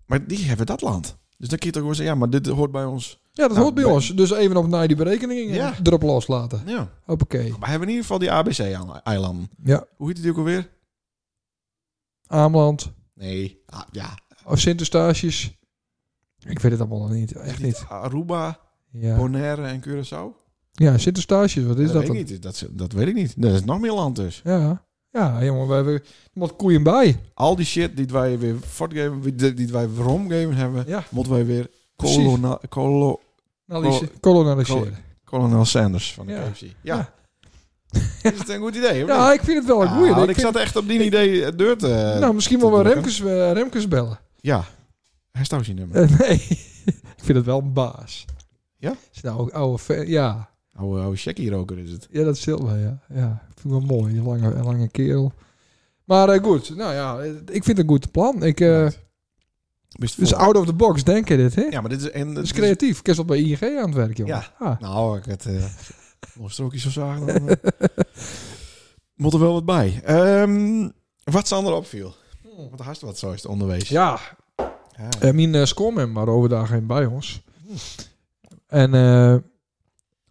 A: maar die hebben dat land. Dus dan kun je toch gewoon zeggen, ja, maar dit hoort bij ons.
D: Ja, dat
A: Nou,
D: hoort bij
A: bij-
D: ons. Dus even op naar die berekeningen
A: Ja.
D: erop loslaten.
A: Ja.
D: Hoppakee.
A: Maar we hebben in ieder geval die ABC-eilanden.
D: Ja,
A: Hoe heet die ook alweer?
D: Ameland,
A: Nee. Ah, ja.
D: of Sint-Eustatius. Ik weet het allemaal nog niet. Echt niet.
A: Aruba,
D: Ja,
A: Bonaire en Curaçao?
D: ja Sint-Eustatius, wat is
A: dat
D: dat
A: weet
D: dan?
A: ik niet. Dat, is- dat weet ik niet. Dat is nog meer land dus.
D: Ja, ja jongen, we hebben er moet koeien bij.
A: Al die shit die wij weer voortgeven, die die wij romgeven hebben,
D: Ja.
A: moeten wij weer
D: Precies.
A: kolona, kolo,
D: Analyse- Kolonaliseren.
A: kolonel Sanders van de
D: Ja.
A: KFC. Ja. Is het een goed idee? of
D: Ja,
A: niet?
D: ik vind het wel een
A: Ah,
D: goeie.
A: want
D: Ik
A: ik
D: vind-
A: zat echt op die idee eh, deur te...
D: nou, misschien
A: te
D: wel
A: doen,
D: Remkes, eh, Remkes bellen.
A: Ja. Hij staat je nummer.
D: Eh, nee, ik vind het wel een baas.
A: Ja?
D: Is nou ook oude fan? Ja.
A: Oude, oude Shaggy roker is het.
D: ja, dat zit wel, ja. ja. Ik vind het wel mooi, een lange, een lange kerel. Maar eh, goed, nou ja, eh, ik vind het een goed plan. Ik, eh,
A: Bedankt. Wist
D: dus
A: voor-
D: out of the box denken dit, hè?
A: Ja, maar dit is... En,
D: Dat is
A: dit is-
D: creatief. Ik is al bij ING aan het werk, jongen.
A: Ja.
D: Ah,
A: Nou, ik het... eh nog een strookje zo zagen. Dan, eh, moet er wel wat bij. Ehm, wat Sander opviel. Wat haast wat zo is het Ah. onderwijs.
D: ja.
A: Ja. Hmm.
D: Eh, mijn uh, scoreman maar overdag geen bij ons. En eh,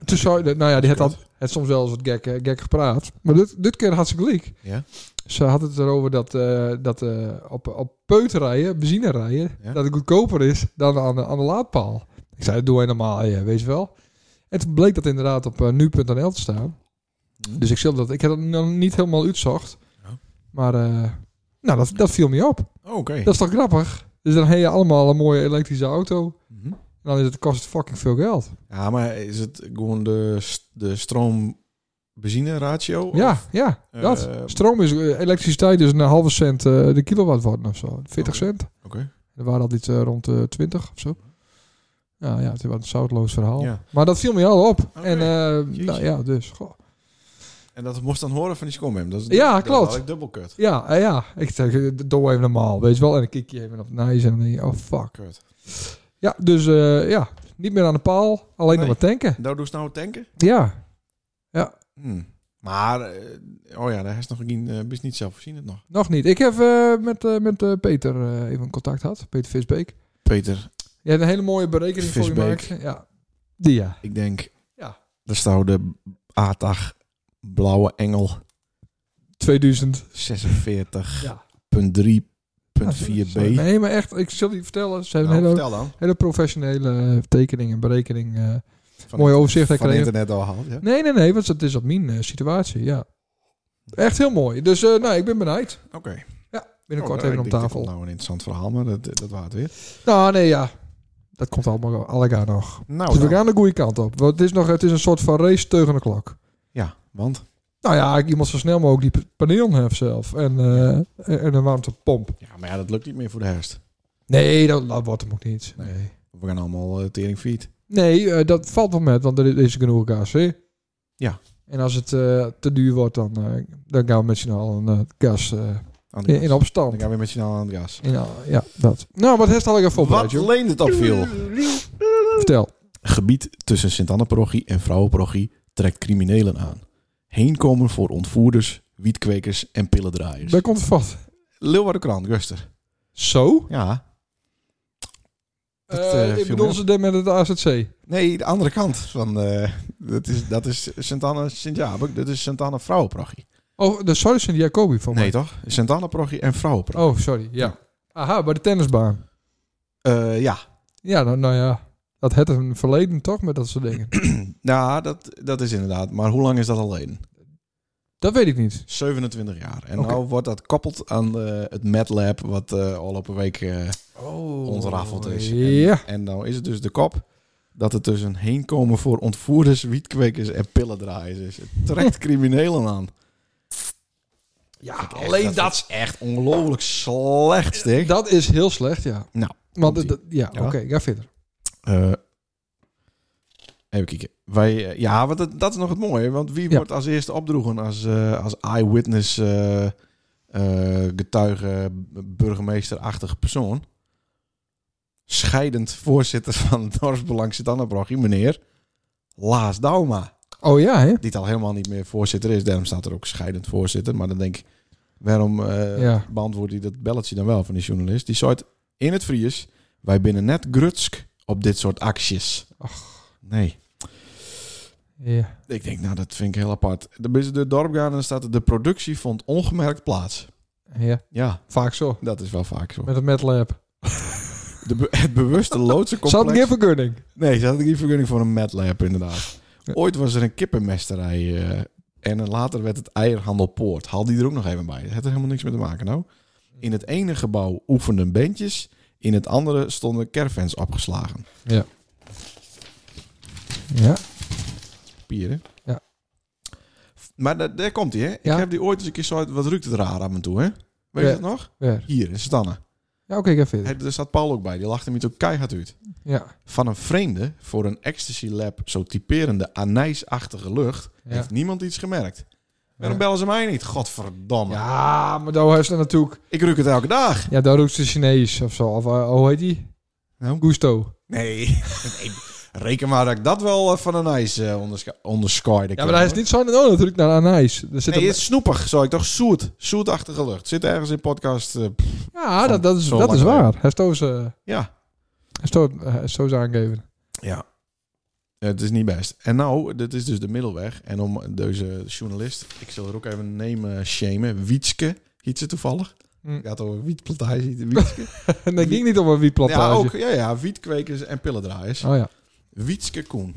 D: toen zou, nou ja, die had, al- had soms wel eens wat gek, eh, gek gepraat. Maar dit, dit keer had ze gelijk.
A: Ja.
D: Ze had het erover dat, eh, dat eh, op, op peuterrijen, benzinerijden,
A: Ja.
D: dat het goedkoper is dan aan de, aan de laadpaal. Ik zei, dat doe je normaal, ja, weet je wel. En toen bleek dat inderdaad op eh, nu.nl te staan. Dus ik, zilde dat, ik heb dat nog niet helemaal uitzocht.
A: Hmm. Ja.
D: Maar eh, nou, dat, dat viel me op.
A: Oh, Oké.
D: Dat is toch grappig? Dus dan heb je allemaal een mooie elektrische auto.
A: Mhm.
D: En dan is het, kost het fucking veel geld.
A: Ja, maar is het gewoon de, s- de stroom-benzine-ratio?
D: ja,
A: Of-
D: ja,
A: eh,
D: dat. Stroom is eh, elektriciteit dus een halve cent eh, de kilowatt worden of zo.
A: Oké.
D: 40 cent.
A: Oké.
D: Er waren altijd eh, rond eh 20 of zo. Nou ja, het was een zoutloos verhaal.
A: Ja.
D: Maar dat viel me al op. En eh,
A: Jeetje.
D: nou ja, dus. goh.
A: En dat moest dan horen van die scommem. Dat is
D: Ja,
A: dat is
D: klopt.
A: eigenlijk dubbel kut.
D: Ja, eh, ja. Ik zeg, eh, doe even normaal, weet je wel. En dan kijk je even op nice en dan denk je, oh fuck.
A: Kut.
D: Ja, dus eh, ja, niet meer aan de paal. Alleen
A: Nee.
D: nog maar tanken.
A: Nou, doe ze nou tanken?
D: Ja,
A: Hm. Maar, eh, oh ja, daar is nog geen, eh best niet zelf voorzien het nog.
D: nog niet. Ik heb eh, met, eh, met eh, Peter eh, even contact gehad. Peter Visbeek.
A: Peter,
D: Je hebt een hele mooie berekening voor je
A: Visbeek.
D: gemaakt. Ja. Die ja.
A: ik denk,
D: Ja.
A: daar staat de ATAG Blauwe Engel
D: 2000.
A: 46.3.4b.
D: Ja.
A: Nou,
D: Nee, maar echt, ik zal je vertellen. Ze hebben een hele,
A: vertel dan.
D: hele professionele eh, tekening en berekening. eh.
A: Van
D: Mooi
A: het-
D: overzicht, hè,
A: Van
D: Kregen.
A: internet al gehaald, ja?
D: Nee, nee, nee, want dat is op mijn eh, situatie, ja. Echt heel mooi. Dus eh, nou, ik ben benijd.
A: Oké.
D: Binnenkort
A: Oh,
D: even
A: ik
D: op
A: denk, dit
D: tafel.
A: komt Nou, een interessant verhaal, maar dat, dat waard weer.
D: Nou, nee, ja. Dat komt allemaal allegaar nog.
A: Nou,
D: Dus we
A: dan.
D: gaan de goede kant op. Want het is, nog, het is een soort van race tegen de klok.
A: ja, want
D: Nou ja, ik- iemand zo snel mogelijk die p- paneel heeft zelf. En, eh, en- en een warmtepomp.
A: ja, maar ja, dat lukt niet meer voor de herfst.
D: Nee, dat, dat wordt hem ook niet.
A: Nee.
D: Nee,
A: We gaan allemaal eh, tering feed.
D: nee eh, dat valt wel met, want er is genoeg gas.
A: Ja.
D: En als het eh, te duur wordt, dan, eh, dan gaan we met z'n allen eh, gas eh,
A: Aan de
D: in, in
A: gas.
D: opstand.
A: Dan gaan we weer met je aan het gas.
D: Ja, ja, dat. Nou, wat heeft al ik voorbereid,
A: Wat
D: joh?
A: leent het opviel?
D: Vertel.
A: Gebied tussen Sint-Anne-parochie en Vrouwenprochie trekt criminelen aan. Heenkomen voor ontvoerders, wietkwekers en pillendraaiers.
D: Daar komt het vat.
A: Leeuwarden krant, Guster.
D: Zo?
A: Ja. Dat,
D: Eh,
A: eh,
D: ik
A: viel
D: bedoel
A: me
D: ze dit met het AZC.
A: Nee, de andere kant. Van, eh, dat is, dat is Sint-Anne, Sint-Jabek. Dat is Sint-Anne Vrouwenprochie.
D: Oh, de sorry, Sint Jacobi van
A: Nee, toch? Sint-Anne-parochie en Vrouwenprochie.
D: Oh, sorry, ja. Aha, bij de tennisbaan.
A: Eh, ja,
D: Ja, nou, nou ja. Dat het een verleden toch met dat soort dingen?
A: Ja, Nou, dat, dat is inderdaad. Maar hoe lang is dat alleen?
D: dat weet ik niet.
A: 27 jaar. En
D: Oké.
A: nou wordt dat koppeld aan eh, het MedLab, wat eh al op een week eh,
D: Oh.
A: ontrafeld is. En-
D: Ja.
A: En, nou is het dus de kop dat het dus een heenkomen voor ontvoerders, wietkwekers en pillendraaiers is. Het trekt criminelen aan.
D: Ja,
A: Echt,
D: alleen dat.
A: is echt ongelooflijk slecht, zeg.
D: Dat is heel slecht, ja.
A: Nou,
D: Want,
A: komt-ie.
D: het- dat- ja,
A: Ja.
D: oké, ga verder.
A: Eh, even kijken. Wij, eh, ja, want dat, dat is nog het mooie. Want wie
D: Ja.
A: wordt als eerste opdroegen als, eh, als eyewitness eh, eh, getuige, burgemeester-achtig persoon? Scheidend voorzitter van het dorpsbelang Sint-Annebrogje, meneer Laas Dauma.
D: Oh ja, hè?
A: Die het al helemaal niet meer voorzitter is. Daarom staat er ook scheidend voorzitter. Maar dan denk ik, waarom eh
D: Ja.
A: beantwoordt hij dat belletje dan wel van die journalist? Die zei in het Fries, wij binnen net grutsk op dit soort acties. Nee.
D: Ja.
A: Ik denk, nou, dat vind ik heel apart. Dan ben je door het dorp gaan en dan staat er... De productie vond ongemerkt plaats.
D: ja.
A: Ja,
D: Vaak zo.
A: dat is wel vaak zo.
D: Met het MedLab.
A: De be- het bewuste
D: Zat ik
A: loodsencomplex...
D: geen vergunning?
A: Nee, ze hadden geen vergunning voor een medlab, inderdaad. Ooit was er een kippenmesterij... eh, en later werd het eierhandelpoort. Haal die er ook nog even bij. Het had er helemaal niks mee te maken, nou. In het ene gebouw oefenden bandjes... In het andere stonden caravans opgeslagen.
D: Ja.
A: papieren.
D: Ja.
A: Maar daar, daar komt hij, hè?
D: Ja.
A: Ik heb die ooit eens een keer zo uit- Wat ruikt het raar aan me toe, hè? Weet je
D: Ja.
A: dat nog?
D: Weer.
A: Hier, in Stanne.
D: Ja, oké, ga verder.
A: Hij- Daar zat Paul ook bij. Die lachte me toen keihard uit.
D: Ja.
A: Van een vreemde voor een ecstasy lab zo typerende anijsachtige lucht...
D: Ja.
A: heeft niemand iets gemerkt. Waarom
D: Ja.
A: bellen ze mij niet? Godverdamme.
D: ja, maar daar is er natuurlijk...
A: Ik ruik het elke dag.
D: Ja, daar roept ze Chinees of zo. Of eh, hoe heet die?
A: Nou?
D: Gusto.
A: Nee. Nee, Reken maar dat ik dat wel eh, van anijs eh onderscha- onderscheiden
D: Ja,
A: kan,
D: maar hij is
A: hoor.
D: niet zo oh, natuurlijk naar Anijs. Er zit
A: Nee,
D: een-
A: het is snoepig, zou ik toch? Zoet. Zoetachtige lucht. Zit ergens in podcast... eh, pff,
D: ja,
A: van-
D: dat, dat is,
A: zo
D: dat is
A: lang
D: waar. Hij is toos, eh,
A: ja,
D: hij is toos- hij is toos aangeven.
A: Ja. eh, Het is niet best. En nou, dit is dus de middelweg. En om deze journalist, ik zal er ook even nemen, eh, shamen. Wietske, heet ze toevallig.
D: Hm.
A: Gaat over wietplantage. Wietske.
D: En dat ging niet om een wietplantage.
A: ja, ook. Ja, ja, wietkwekers en pillendraaiers.
D: Oh ja.
A: Wietske Koen.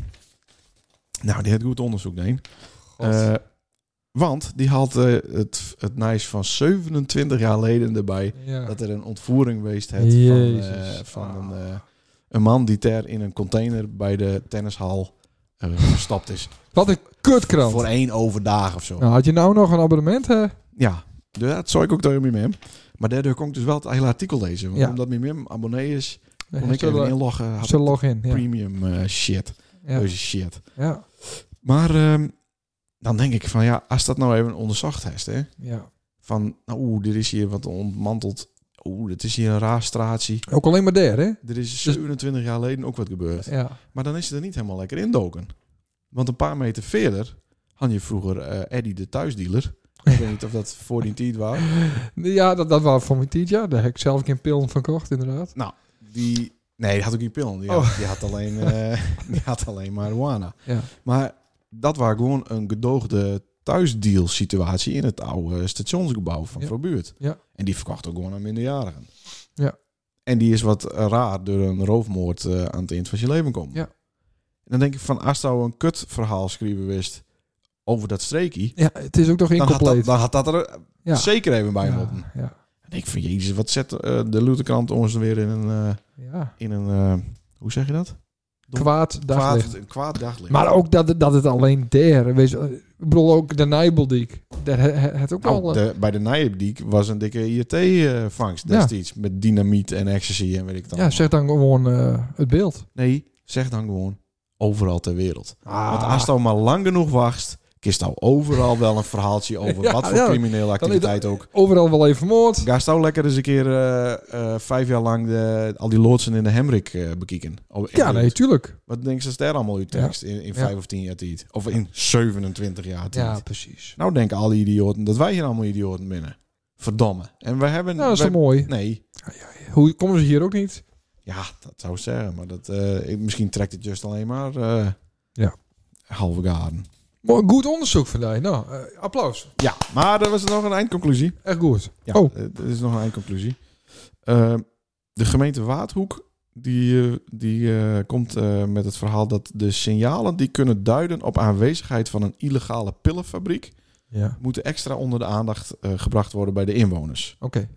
A: Nou, die heeft goed onderzoek, Deen.
D: Eh,
A: Eh, Want die haalt eh, het, het nice van 27 jaar geleden erbij.
D: Ja.
A: Dat er een ontvoering geweest heeft van, eh,
D: Jezus.
A: van
D: Ah.
A: een, eh, een man die ter in een container bij de tennishal eh, gestapt is.
D: Wat een kutkrant.
A: Voor één overdag of zo.
D: Nou, had je nou nog een abonnement, hè?
A: Ja, dus dat zou ik ook tegen mijn mim. Maar daardoor kon ik dus wel het hele artikel lezen. Want
D: Ja.
A: Omdat mijn mim abonnee is, kon ik even
D: Zullen
A: inloggen. Had
D: zullen login. Ja.
A: premium eh, shit.
D: Ja.
A: Deze shit.
D: Ja.
A: Maar ehm, dan denk ik van ja, als dat nou even onderzocht is, hè.
D: ja.
A: Van, nou, oeh, dit is hier wat ontmanteld. Oeh, dit is hier een raar straatje.
D: Ook alleen maar daar, hè?
A: Er is 27 jaar geleden ook wat gebeurd.
D: Dus- Ja.
A: Maar dan is ze er niet helemaal lekker indoken. Want een paar meter verder had je vroeger eh Eddie de thuisdealer. Ik weet niet of dat voor die tijd was.
D: Ja, dat, dat was voor mijn tientje. ja. Daar heb ik zelf een keer pillen van gekocht, inderdaad.
A: Die, nee, die had ook niet pillen. Die had, die had, alleen, eh, die had alleen marihuana.
D: Oh. Ja.
A: Maar dat was gewoon een gedoogde thuisdeal situatie in het oude stationsgebouw van
D: Ja.
A: Verbuurt.
D: Ja.
A: En die verkocht ook gewoon aan minderjarigen.
D: Ja.
A: En die is wat raar door een roofmoord eh, aan het eind van zijn leven komen.
D: Ja.
A: En dan denk ik van, als nou een kut verhaal schrijven wist over dat streekje,
D: Ja, het is ook nog
A: dan had, dat,
D: incompleet.
A: dan had dat er
D: Ja.
A: zeker even bij
D: ja,
A: moeten.
D: ja,
A: En ik van, jezus, wat zet eh, de Luterkrant ons weer in een... eh,
D: ja.
A: in een, eh, hoe zeg je dat? Dom-
D: Kwaad daglicht.
A: Kwaad, een kwaad daglicht.
D: Maar ook dat, dat het alleen daar... Wees, eh, ik bedoel, ook de Nijbeldijk. Daar he- he- het ook
A: Nou,
D: wel... eh,
A: de- bij de Nijendiek was een dikke IRT-vangst
D: Ja.
A: destijds. Met dynamiet en ecstasy en weet ik dan.
D: ja, zeg dan gewoon eh, het beeld.
A: Nee, zeg dan gewoon overal ter wereld.
D: Ah.
A: Want als je maar lang genoeg wacht, kist nou overal wel een verhaaltje over
D: Ja,
A: wat voor
D: ja.
A: criminele activiteit ook.
D: Overal wel even moord.
A: Ga nou lekker eens een keer eh, eh, vijf jaar lang de, al die loodsen in de Hemrik eh bekieken. Oh, in
D: Ja,
A: de-
D: nee, tuurlijk.
A: Wat denk je dat daar allemaal uit
D: Ja.
A: tekst in, in
D: Ja.
A: vijf of tien jaar tijd? Of in 27 jaar tijd?
D: Ja, precies.
A: Nou denken al die idioten dat wij hier allemaal idioten binnen. Verdomme. En we hebben...
D: Nou, dat is
A: we-
D: toch mooi.
A: Nee.
D: Hoe komen ze hier ook niet?
A: Ja, dat zou ik zeggen. Maar dat, eh, ik, misschien trekt het just alleen maar... eh,
D: Ja.
A: Halve garden.
D: Mooi, Goed onderzoek vandaag. Nou, eh, applaus.
A: Ja, maar er was nog een eindconclusie.
D: Echt goed.
A: Ja,
D: Oh.
A: eh, er is nog een eindconclusie. Eh, de gemeente Waardhoek... Die, eh, die eh, komt eh, met het verhaal dat de signalen die kunnen duiden op aanwezigheid van een illegale pillenfabriek
D: Ja.
A: moeten extra onder de aandacht eh, gebracht worden bij de inwoners.
D: Oké.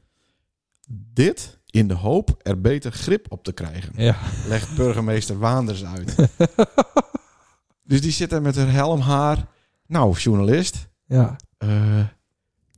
A: Dit in de hoop er beter grip op te krijgen,
D: Ja.
A: legt burgemeester Waanders uit. dus die zit daar met haar helm haar. Nou, journalist,
D: Ja.
A: eh,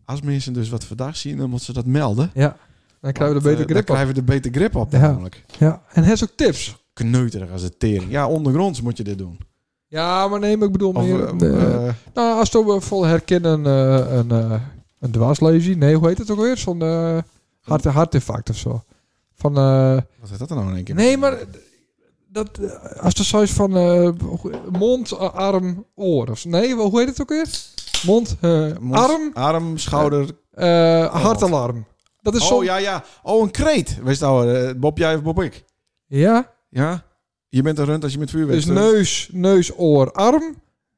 A: als mensen dus wat verdacht zien, dan moeten ze dat melden.
D: Dan krijgen we er
A: Want,
D: beter
A: eh,
D: grip
A: dan
D: op.
A: krijgen we er beter grip op
D: Ja.
A: namelijk.
D: Ja. En hij is ook tips.
A: Kneuterig als het tering. Ja, ondergronds moet je dit doen.
D: Ja, maar nee, maar ik bedoel
A: Of,
D: meer...
A: eh,
D: de-
A: eh,
D: nou, als we vol herkennen eh, een, eh een dwarslazy. Nee, hoe heet het ook weer? Zo'n eh hart, hartinfarct of zo. Van... eh,
A: wat is dat dan nou in één keer?
D: nee, maar... Dat, eh, als er zoiets van eh, mond, eh, arm, oor. Of, nee, hoe heet het ook weer? Mond, eh,
A: Mond,
D: arm,
A: Arm, schouder,
D: Eh, hartalarm. Dat is zo.
A: Oh ja, ja. Oh, een kreet. Wees nou, eh, Bob jij of Bob ik?
D: Ja?
A: Ja? Je bent een runt als je met vuur eh.
D: Dus
A: bent.
D: neus, neus, oor, arm.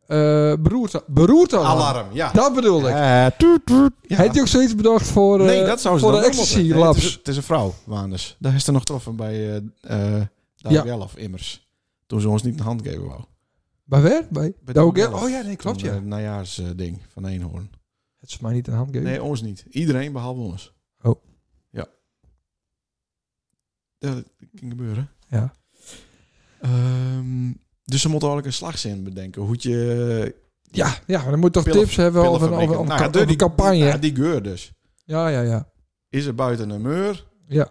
D: eh beroerte, beroertealarm.
A: Alarm, ja.
D: Dat bedoel ik.
A: Eh, toet, toet. Ja.
D: Heeft hij ook zoiets bedacht voor, eh
A: nee, dat zou ze
D: voor
A: dan
D: de
A: wel moeten.
D: ecstasy
A: Nee, het, is,
D: labs?
A: het is een vrouw, Waanders. Daar is er nog troffen bij eh eh
D: Ja.
A: Douwe Jelf, immers. Toen ze ons niet een hand geven wou.
D: Bij waar? Bij,
A: Bij
D: Douwe
A: Douwe
D: Gel-
A: Jelf.
D: Oh ja, nee, klopt
A: Toen,
D: ja.
A: eh, najaarsding van Eenhoorn.
D: het is mij niet een hand geven.
A: Nee, ons niet. Iedereen behalve ons.
D: Oh.
A: Ja. Ja, dat kan gebeuren.
D: Ja.
A: Ehm, dus ze moeten eigenlijk een slagzin bedenken. Hoe je eh,
D: Ja, ja, maar dan moet je toch
A: Pillen-
D: tips hebben of een, of, een- of een
A: Nou,
D: ka-
A: de-
D: of een campagne.
A: Ja, die geur dus.
D: ja, ja, ja.
A: Is er buiten een muur?
D: Ja.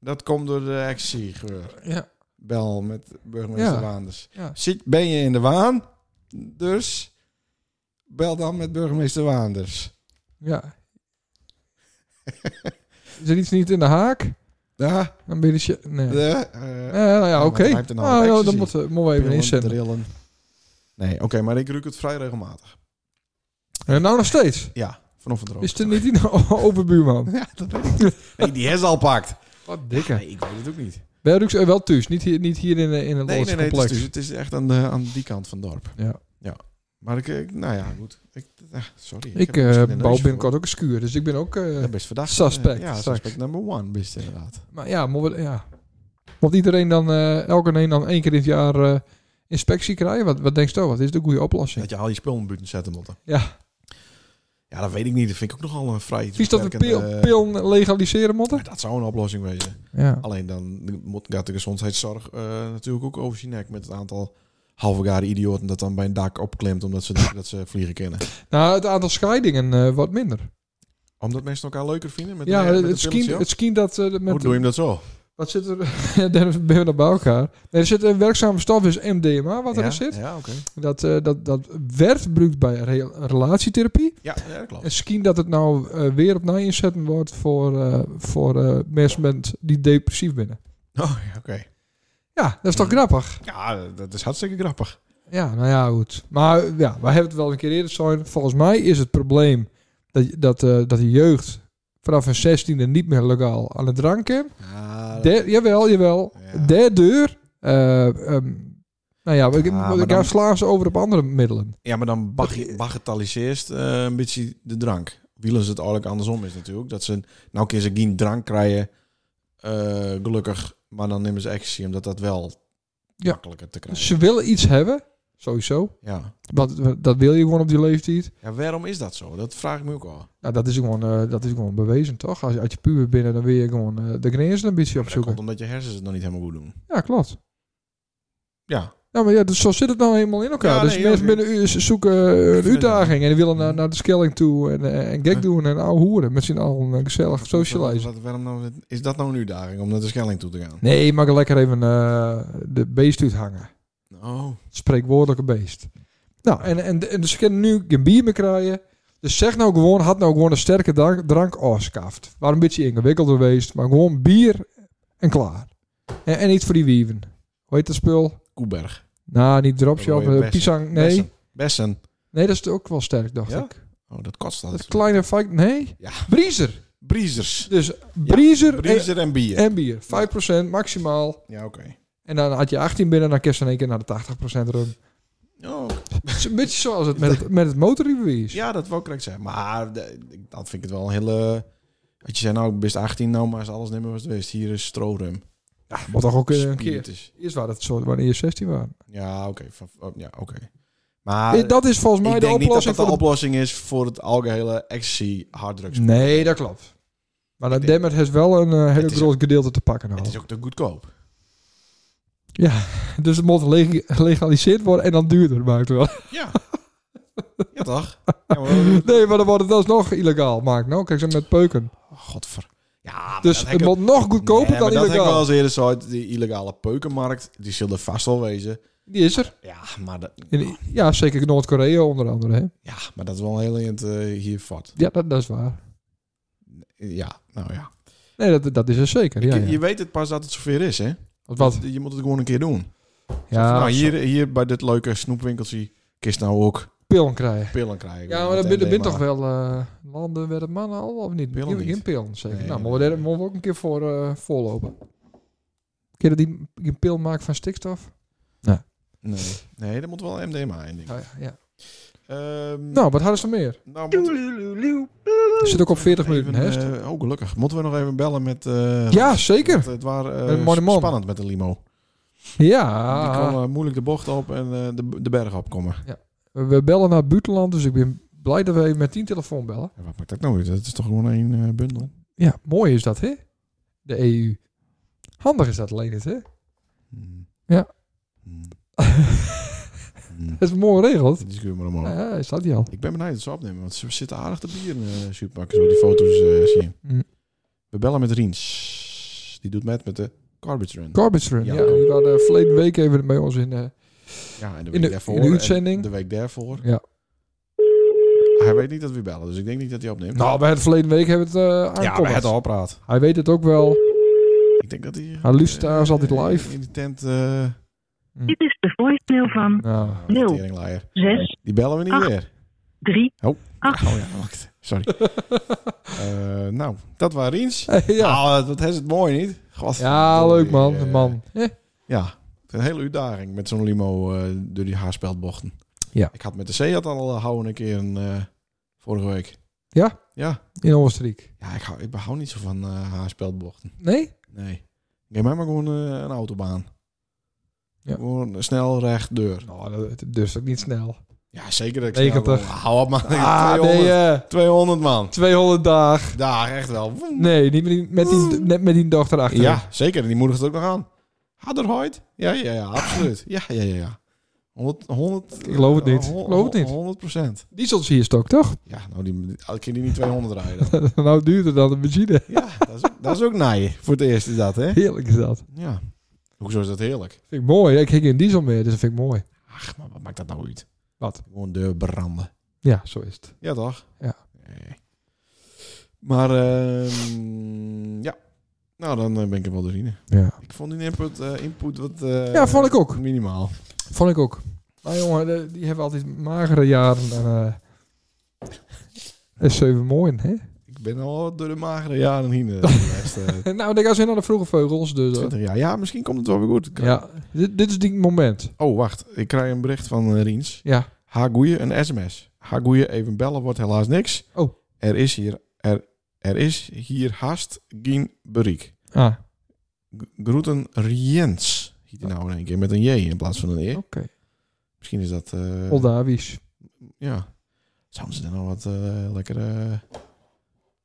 A: Dat komt door de actiegeur.
D: Ja,
A: Bel met burgemeester
D: Ja.
A: Waanders.
D: Ja.
A: Zit, ben je in de waan? Dus bel dan met burgemeester Waanders.
D: ja. is er iets niet in de haak?
A: Ja,
D: Dan ben je... de shi- Nee.
A: de,
D: Eh,
A: eh,
D: nou ja,
A: maar
D: oké.
A: hij heeft er nou
D: Nou,
A: een
D: ja, dan
A: ecstasy.
D: moeten we- moeten we even
A: pillen,
D: inzetten.
A: drillen. Nee, oké, maar ik ruik het vrij regelmatig.
D: Eh, nou nog steeds.
A: Ja, vanochtend ook.
D: Is het niet die
A: Oh.
D: overbuurman?
A: Ja, dat weet ik. Nee, die is al pakt.
D: Wat dikke.
A: Nee, ik weet het ook niet.
D: Bij Rux, eh, wel thuis, niet hier, niet hier in, eh, in een
A: Nee, nee, nee, het is,
D: complex.
A: dus, het is echt aan, de, aan die kant van het dorp.
D: Ja.
A: Maar ik, ik- nou ja, goed. Ik, eh, sorry.
D: Ik
A: heb er
D: eh,
A: misschien een
D: bouw
A: neus
D: binnenkort ook een skuur, dus ik ben ook... eh,
A: voor. Ja, best verdacht.
D: Suspect,
A: Ja,
D: straks.
A: suspect number one, best inderdaad.
D: Maar ja, moet we- ja. Want iedereen dan, eh elke een dan één keer in het jaar eh, inspectie krijgen? Wat, wat denk je, oh, wat is de goede oplossing?
A: Dat je al je spullen buiten zetten moet.
D: Ja.
A: Ja, dat weet ik niet. Dat vind ik ook nogal een vrij...
D: Vies dat we pil,
A: beperkende-
D: pil legaliseren moeten?
A: Maar dat zou een oplossing wezen.
D: Ja.
A: Alleen dan moet gaat de gezondheidszorg eh, natuurlijk ook overzien. hè, Met het aantal halve gare idioten dat dan bij een dak opklemt omdat ze denken dat ze vliegen kennen.
D: Nou, het aantal scheidingen eh wat minder.
A: Omdat mensen elkaar leuker vinden met
D: ja,
A: een, met een
D: het,
A: pilletje
D: scheen,
A: op?
D: het scheen dat... eh,
A: Hoe
D: met,
A: doe je hem dat zo?
D: wat zit er... ja, dan ben je nog bij elkaar. Nee, er zit een werkzame stof, is MDMA, wat
A: ja?
D: erin zit.
A: Ja, oké.
D: Dat, eh, dat, dat werd gebruikt bij re- relatietherapie.
A: Ja, ja, dat klopt.
D: En misschien dat het nou eh, weer opnieuw inzet wordt voor, eh, voor eh, mensen met, die depressief binnen.
A: Oh, ja, oké.
D: Ja, dat is toch
A: Hmm.
D: grappig?
A: Ja, dat is hartstikke grappig.
D: Ja, nou ja, goed. Maar eh, ja, wij hebben het wel een keer eerder zo. Volgens mij is het probleem dat, dat, eh, dat de jeugd vanaf hun 16e niet meer legaal aan het dranken.
A: Ja,
D: jawel, jawel.
A: Ja.
D: Daardoor, eh, ehm, nou ja, we,
A: Ja, maar
D: we- we
A: dan-
D: slaan ze over op andere middelen.
A: ja maar dan bag- bagatelliseert eh, een beetje de drank. Wielen ze het eigenlijk andersom is natuurlijk. Dat ze nou een keer ze geen drank krijgen, eh, gelukkig. Maar dan nemen ze ecstasy omdat dat wel
D: Ja. Dus-
A: makkelijker te krijgen.
D: Ze willen iets hebben, sowieso.
A: Ja.
D: Want eh, dat wil je gewoon op die leeftijd.
A: Ja, waarom is dat zo? Dat vraag ik me ook al.
D: Nou, dat is gewoon, eh, dat is gewoon bewezen, toch? Als je uit je puber binnen, dan wil je gewoon eh, de grenzen een beetje
A: Maar dat
D: opzoeken.
A: komt omdat je hersens het nog niet helemaal goed doen.
D: Ja, klopt.
A: Ja.
D: Nou, maar ja, dus zo zit het nou helemaal in elkaar.
A: Ja,
D: dus
A: nee,
D: mensen
A: joh,
D: binnen u- ze zoeken eh,
A: vind
D: een
A: het
D: uitdaging en die willen naar,
A: Mhm.
D: naar de Skelling toe en, eh, en gek
A: Ja.
D: doen en ouwe hoeren met z'n allen eh, gezellig socializen.
A: Wat- waarom nou, is dat nou een uitdaging om naar de Schelling toe te gaan?
D: Nee, je mag lekker even eh, de beest uithangen.
A: Oh,
D: Het spreekwoordelijke beest. Nou, en, en, en dus ze kunnen nu geen bier meer krijgen. Dus zeg nou gewoon, had nou gewoon een sterke drank, drank afskaft. Waar een beetje ingewikkeld geweest, maar gewoon bier en klaar. En, en niet voor die wieven. Hoe heet dat spul?
A: Koeberg.
D: Nou, niet
A: Dat
D: dropshop,
A: mooie
D: eh,
A: bessen.
D: pisang, nee.
A: Bessen. Bessen.
D: Nee, dat is ook wel sterk, dacht
A: Ja?
D: ik.
A: Oh, dat kost dat.
D: Dat kleine feit, nee.
A: Ja.
D: Briezer.
A: Breezers.
D: Dus briezer,
A: Breezer en bier.
D: en, en bier. 5% maximaal.
A: Ja, oké.
D: En dan had je 18 binnen, dan kerst in één keer naar de 80% rum.
A: Oh, oké.
D: Het is een beetje zoals het met het, met het motorrijbewijs.
A: ja, dat wil ik correct zeggen. Maar de- ik- dat vind ik het wel een hele... Wat je zei, nou, ik ben 18, nou, maar is alles niet meer wat het is. Hier is strorum.
D: Ja, wat toch ook eh, een keer.
A: Spiritus.
D: Eerst waren het zo, wanneer je 16 waren.
A: Ja, oké. Van- oh, Ja, oké. Maar...
D: Eh, dat is volgens mij
A: Ah, ik
D: de Nou.
A: denk niet dat dat
D: oplossing
A: de
D: voor
A: oplossing is voor het algehele ecstasy harddrugs.
D: de... Nee, dat klopt. Maar dat
A: Ik denk-
D: Demmet heeft wel een eh, hele
A: Het is-
D: groot gedeelte te pakken.
A: Het
D: Nou.
A: is ook te goedkoop.
D: Ja, dus het moet leg- legaliseerd worden en dan duurder maakt wel.
A: Ja. ja, toch? Ja, maar-
D: Nee, maar dan wordt het alsnog illegaal maakt. Nou, kijk ze met peuken.
A: Oh, Godver. Ja, maar dat
D: Dus het
A: Ah, heb ik-
D: moet nog goedkoper
A: Nee,
D: dan
A: maar dat heb ik wel
D: illegaal.
A: eens eerder zo uit die illegale peukenmarkt. Die zullen vast wel wezen.
D: Die is er.
A: Ja, maar dat,
D: In, ja, zeker in Noord-Korea onder andere. Hè.
A: ja, maar dat is wel heel in het eh, hier vat.
D: Ja, dat, dat is waar.
A: Ja, nou ja.
D: Nee, dat, dat is er zeker. Ja,
A: Je- Je
D: ja.
A: weet het pas dat het zover is, hè?
D: Wat- Ah, Wat?
A: Je moet het gewoon een keer doen.
D: Ja,
A: nou, hier, hier bij dit leuke snoepwinkeltje kist nou ook
D: pillen krijgen.
A: pillen krijgen.
D: Ja, maar
A: Met
D: er bin- er
A: MDMA.
D: bin toch wel eh, landen werden mannen al of niet?
A: Pillen
D: Geen-
A: niet.
D: Geen pillen, zeker.
A: Nee,
D: nou, maar
A: nee,
D: we daar
A: nee.
D: moeten we ook een keer voor eh, voorlopen. Kun je dat die die een pil maken van stikstof?
A: Nee, nee, dat moet wel MDMA in. Denk ik.
D: Ja, Oh, ja, ja.
A: Ehm,
D: Nou, wat hadden ze nog meer?
A: nou moeten we
D: Er zit ook op 40 minuten, hè?
A: even, eh, oh, gelukkig. Moeten we nog even bellen met... eh,
D: ja,
A: Want
D: zeker.
A: Het waren eh,
D: Met een mooie man. Ah,
A: spannend met de limo. Die kon
D: Ja.
A: eh, moeilijk de bocht op en eh, de, de berg opkomen.
D: We- We bellen naar het buitenland, dus ik ben blij dat we even met 10 telefoon bellen.
A: Ja, wat maakt dat nou uit? Dat is toch gewoon één eh, bundel?
D: Ja, mooi is dat, hè? De EU. Handig is dat alleen het, hè?
A: Hmm.
D: Ja.
A: Hmm. Hmm.
D: Dat is mooi geregeld.
A: Die schuur maar omhoog.
D: Ja, is dat die al.
A: Ik ben benieuwd dat ze opnemen, want ze zitten aardig te eh, bier in de supermarkt. Zo die foto's eh, zien.
D: Hmm.
A: We bellen met Riens. Die doet met met de Garbage Run.
D: Garbage Run,
A: Ja.
D: ja. Die waren eh, verleden week even bij ons in... eh,
A: ja, en de week
D: in de-
A: daarvoor.
D: in de
A: en
D: uitzending.
A: De week daarvoor.
D: Ja.
A: Hij weet niet dat we bellen, dus ik denk niet dat hij opneemt.
D: Nou, bij het verleden week hebben we het eh
A: ja, we
D: aangekondigd.
A: het al praat.
D: Hij weet het ook wel.
A: Ik denk dat hij...
D: Hij luistert
A: eh,
D: trouwens altijd live.
A: In die tent... eh
F: Dit is de voicemail van
D: Nou,
F: Nul.
A: teringlaaier.
F: 6,
A: Die bellen we niet
F: Ach.
A: meer.
F: 3,
A: Oh ja, wacht. Sorry. Eh, nou, dat waren Riens.
D: ja.
A: Nou, dat is het mooi niet. God,
D: ja,
A: die,
D: leuk man.
A: eh,
D: man. Eh,
A: Ja, het is een hele uitdaging met zo'n limo eh, door die haarspeldbochten.
D: Ja.
A: Ik had met de Seat al eh, houden een keer een, eh, vorige week.
D: Ja?
A: Ja.
D: in Oostenrijk.
A: Ja, ik hou, ik hou niet zo van eh haarspeldbochten.
D: Nee?
A: Nee. Geef mij maar gewoon eh, een autobaan.
D: Ja.
A: Gewoon snel recht deur.
D: Nou, dat, dat Nou, durft ook niet snel.
A: Ja, zeker dat ik
D: 90.
A: Zeg, hou op man.
D: Ah,
A: 200,
D: nee, eh,
A: 200 man.
D: 200 dagen.
A: Daar, echt wel. Woem.
D: Nee, niet met die, met die, net met die dochter achter.
A: Ja, zeker. En die moedigt het ook nog aan. Harder hard. Ja, ja, ja, absoluut. Ja, ja, ja, ja. 100, 100, ik
D: geloof het niet. Ik geloof het niet.
A: 100 procent.
D: Diesels hier stok, toch?
A: Ja, nou, die, die, kun je die niet 200 rijden dan?
D: nou duurder dan de benzine.
A: ja, dat is, ook- dat is ook naai. Voor het eerst is dat, hè?
D: Heerlijk is dat.
A: Ja. Hoezo is dat heerlijk?
D: Vind ik mooi. Ik hing in diesel meer, dus dat vind ik mooi.
A: Ach, maar wat maakt dat nou uit?
D: Wat?
A: Gewoon de branden.
D: Ja, zo is het.
A: Ja, toch?
D: Ja.
A: Nee. Maar, ehm, ja. Nou, dan eh, ben ik er wel doorheen.
D: Ja,
A: Ik vond die input, eh, input wat... eh,
D: ja vond ik ook.
A: Minimaal.
D: Vond ik ook. Maar jongen, de- die hebben altijd magere jaren. En, eh, dat is zeven mooi, hè?
A: Ik ben al wat door de magere jaren heen. eh, de laatste, eh,
D: Nou, ik ga zo naar de vroege vleugels. Dus, eh,
A: 20 jaar. Ja, misschien komt het wel weer goed. Ik-
D: ja, dit, dit is die moment.
A: Oh, wacht. Ik krijg een bericht van eh, Riens.
D: Ja,
A: Haar goeie, een sms. Haar goeie, even bellen wordt helaas niks.
D: Oh.
A: Er is hier, er, er is hier haast geen bereik.
D: ah, oké.
A: G- Groeten Riens. Hiet hij nou in één keer met een J in plaats van een E. Misschien is dat... eh,
D: Oldavies.
A: ja. Zouden ze dan nog wat eh, lekkere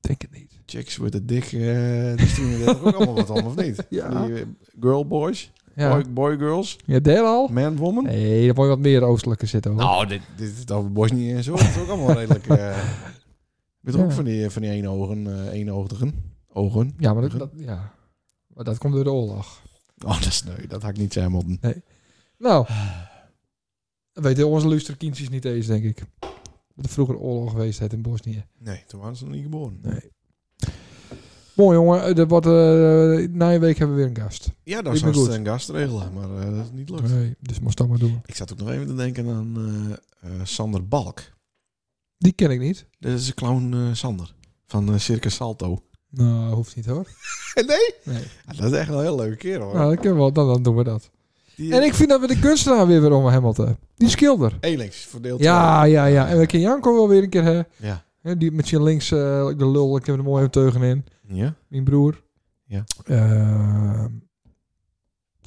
D: Denk het niet.
A: chicks with a dick... eh die sturen er toch ook allemaal wat om, of niet?
D: Ja.
A: Van die, eh, girl boys,
D: Ja,
A: boy, boy girls,
D: ja deel al?
A: man woman.
D: Nee, daar moet je wat meer oostelijke zitten, hoor.
A: Nou, dit, dit is over Bosnië en zo. Dat is ook allemaal redelijk. eh weet
D: Ja.
A: ook van die, van die eenogen, eh eenoogdigen. Ogen.
D: Ja, maar dat, dat- ja. Maar dat komt door de oorlog.
A: Oh, dat is nee, dat had ik niet zijn modden.
D: Nou, dat weten onze luisterkindjes niet eens, denk ik. Dat er vroeger oorlog geweest had in Bosnië.
A: Nee, toen waren ze nog niet geboren.
D: Mooi, jongen. Eh, Dat wordt, eh, na een week hebben we weer een gast.
A: Ja, dan
D: Ik
A: zou
D: ben
A: ze
D: goed.
A: een gast regelen, maar eh, dat is niet lukt.
D: Nee, dus moest dat maar doen.
A: Ik zat ook nog even te denken aan eh, eh, Sander Balk.
D: Die ken ik niet.
A: Dat is de clown eh, Sander van eh, Circus Salto.
D: Nou, hoeft niet hoor.
A: nee? Oh.
D: Nee.
A: Ja, dat is echt wel een heel leuke kerel. hoor.
D: Nou, dat kunnen we wel. Dan, dan doen we dat.
A: Die,
D: En ik vind dat we de kunstenaar weer weer om helemaal te... Die schilder.
A: Elix, verdeeld.
D: Ja, ja, ja. En we kennen Janko wel weer een keer, hè.
A: Ja.
D: Hè, Die met je links, eh, de lul, ik heb er mooi een teugen in.
A: Ja?
D: Mijn broer.
A: Ja.
D: Eh,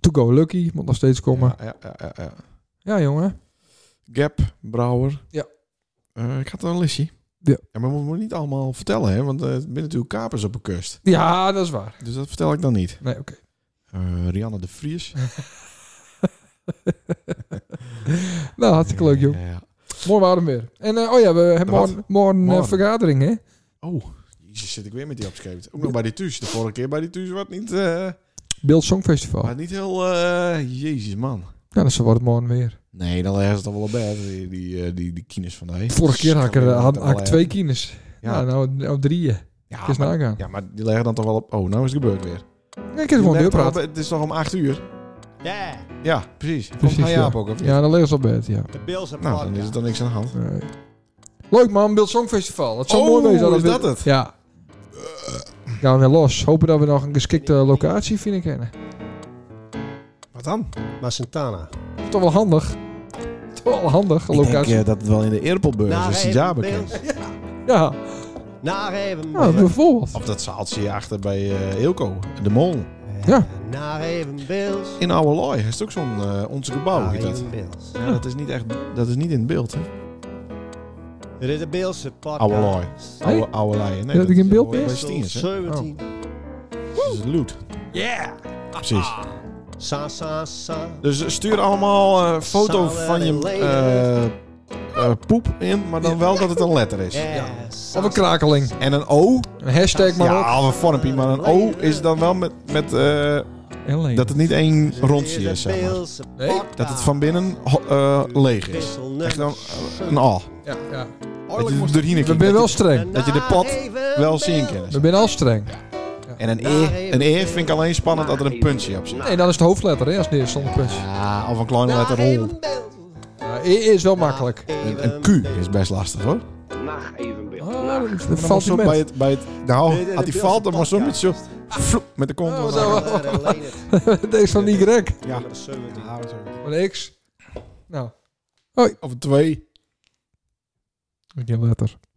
D: to go lucky. Moet nog steeds komen. Ja,
A: Ja, ja, ja, ja, ja.
D: jongen.
A: Gap, Brouwer.
D: Ja.
A: Eh, ik had er een listje.
D: Ja.
A: Maar we moeten niet allemaal vertellen, hè? Want eh, er zijn natuurlijk kapers op de kust.
D: Ja, dat is waar.
A: Dus dat vertel ik dan niet.
D: Nee, oké.
A: Eh Rianne de Vries.
D: Nou, hartstikke leuk, joh.
A: Ja, ja.
D: Mooi warm weer. En eh, oh ja, we hebben
A: Wat?
D: morgen, morgen, eh,
A: Morgen.
D: vergadering, hè.
A: Oh, jezus, zit ik weer met die opschreven. Ook nog bij die Thuis. De vorige keer bij die Thuis wat niet, eh
D: Oh. Beeld Songfestival.
A: wat niet heel... eh, jezus, man.
D: Ja, dus dan wordt het morgen weer.
A: Nee, dan leggen ze het al wel op bed, die, die, eh, die, die kines van de
D: Vorige keer had ik, er, eh, had, had ik twee kines. Ja.
A: Ja.
D: Nou, nou drieën.
A: Ja,
D: Kun je eens
A: maar,
D: nagaan.
A: ja, maar die leggen dan toch wel op... Oh, nou is het gebeurd weer.
D: Nee, ik heb gewoon
A: Die leggen toch
D: deurpraat.
A: wel op- Het is toch om acht uur?
B: Yeah,
A: Ja, precies. Komt
D: Precies,
A: hij
D: ja.
A: Jaap ook, of niet?
D: Ja, dan liggen ze op bed, ja.
B: de Bills en
A: Nou, dan is er dan niks aan de hand.
D: Nee. Leuk man, Beeld Songfestival. Dat zou
A: Oh,
D: mooi wezen.
A: is
D: we-
A: dat het?
D: Ja. Gaan we weer los. Hopen dat we nog een geschikte locatie vinden kennen.
A: Wat dan?
B: Maar Santana.
D: Toch wel handig. Toch wel handig, een locatie.
A: eh, dat het wel in de Eerpelburg
D: Nou,
B: Naar
A: is,
B: even
A: ja bekend.
B: Bills.
D: ja.
B: Naar even
D: ja,
B: Bills.
D: bijvoorbeeld.
A: Of dat zaaltje achter bij eh, Eelco, de Mol.
D: Ja.
B: Naar even Bills.
A: In Oude Looi, dat is ook zo'n eh, onze gebouw.
D: Ah,
B: Naar
A: heet dat.
B: even Bills.
A: Ja, dat is niet echt, dat is niet in het beeld. Hè?
B: Dit is de Bills podcast.
A: Oude Looi.
D: Hey?
A: Oude, oude Laaien. Nee,
D: Dat ik in beeld
A: hoor je bij
B: Wissel
A: Stiens, hè? Oh.
B: 17.
A: Dat is loot.
B: Yeah!
A: Precies.
B: Sa, sa, sa.
A: Dus eh, stuur allemaal eh, foto
B: Salad
A: van je
B: and later.
A: eh, eh, poep in, maar dan wel dat het een letter is.
B: Yeah! sa,
D: Of een krakeling.
A: En een O,
D: Een hashtag maar Eh, op.
A: ja, of een vormpje, maar een O is dan wel met, met eh,
D: En leeg.
A: dat het niet één rondje
B: Dit
A: is,
B: de
A: zeg maar.
B: Bills
D: Nee.
B: podcast.
A: Dat het van binnen ho- eh, leeg is.
B: Wissel
A: Echt dan
B: nummer
A: een A.
D: Ja, ja.
A: Dat je er doorheen
D: We
A: kijkt.
D: zijn wel
A: Dat
D: streng.
A: dat je de pot wel zien
B: kan.
A: kan.
D: We zijn al streng.
A: je- En een E, een e vind ik alleen spannend dat er een puntje op zit.
D: Nee, dan is het hoofdletter, hè, als het eerst zonder puntje.
A: Ja, of een kleine letter hol.
D: Ja, E is wel makkelijk.
A: Een, een Q is best lastig hoor.
C: Nacht evenbeeld.
D: Oh,
C: Nacht.
D: dat- dat
A: Dan moest
D: valt niet
A: zo
D: mee.
A: bij het, bij het, nou, had hij valt, dan maar zo met zo vloep, met de kont.
D: Oh,
A: omlaag.
D: zo. Het is van Y.
A: Ja.
D: Een X. Nou,
A: Of een twee.
D: een keer letter.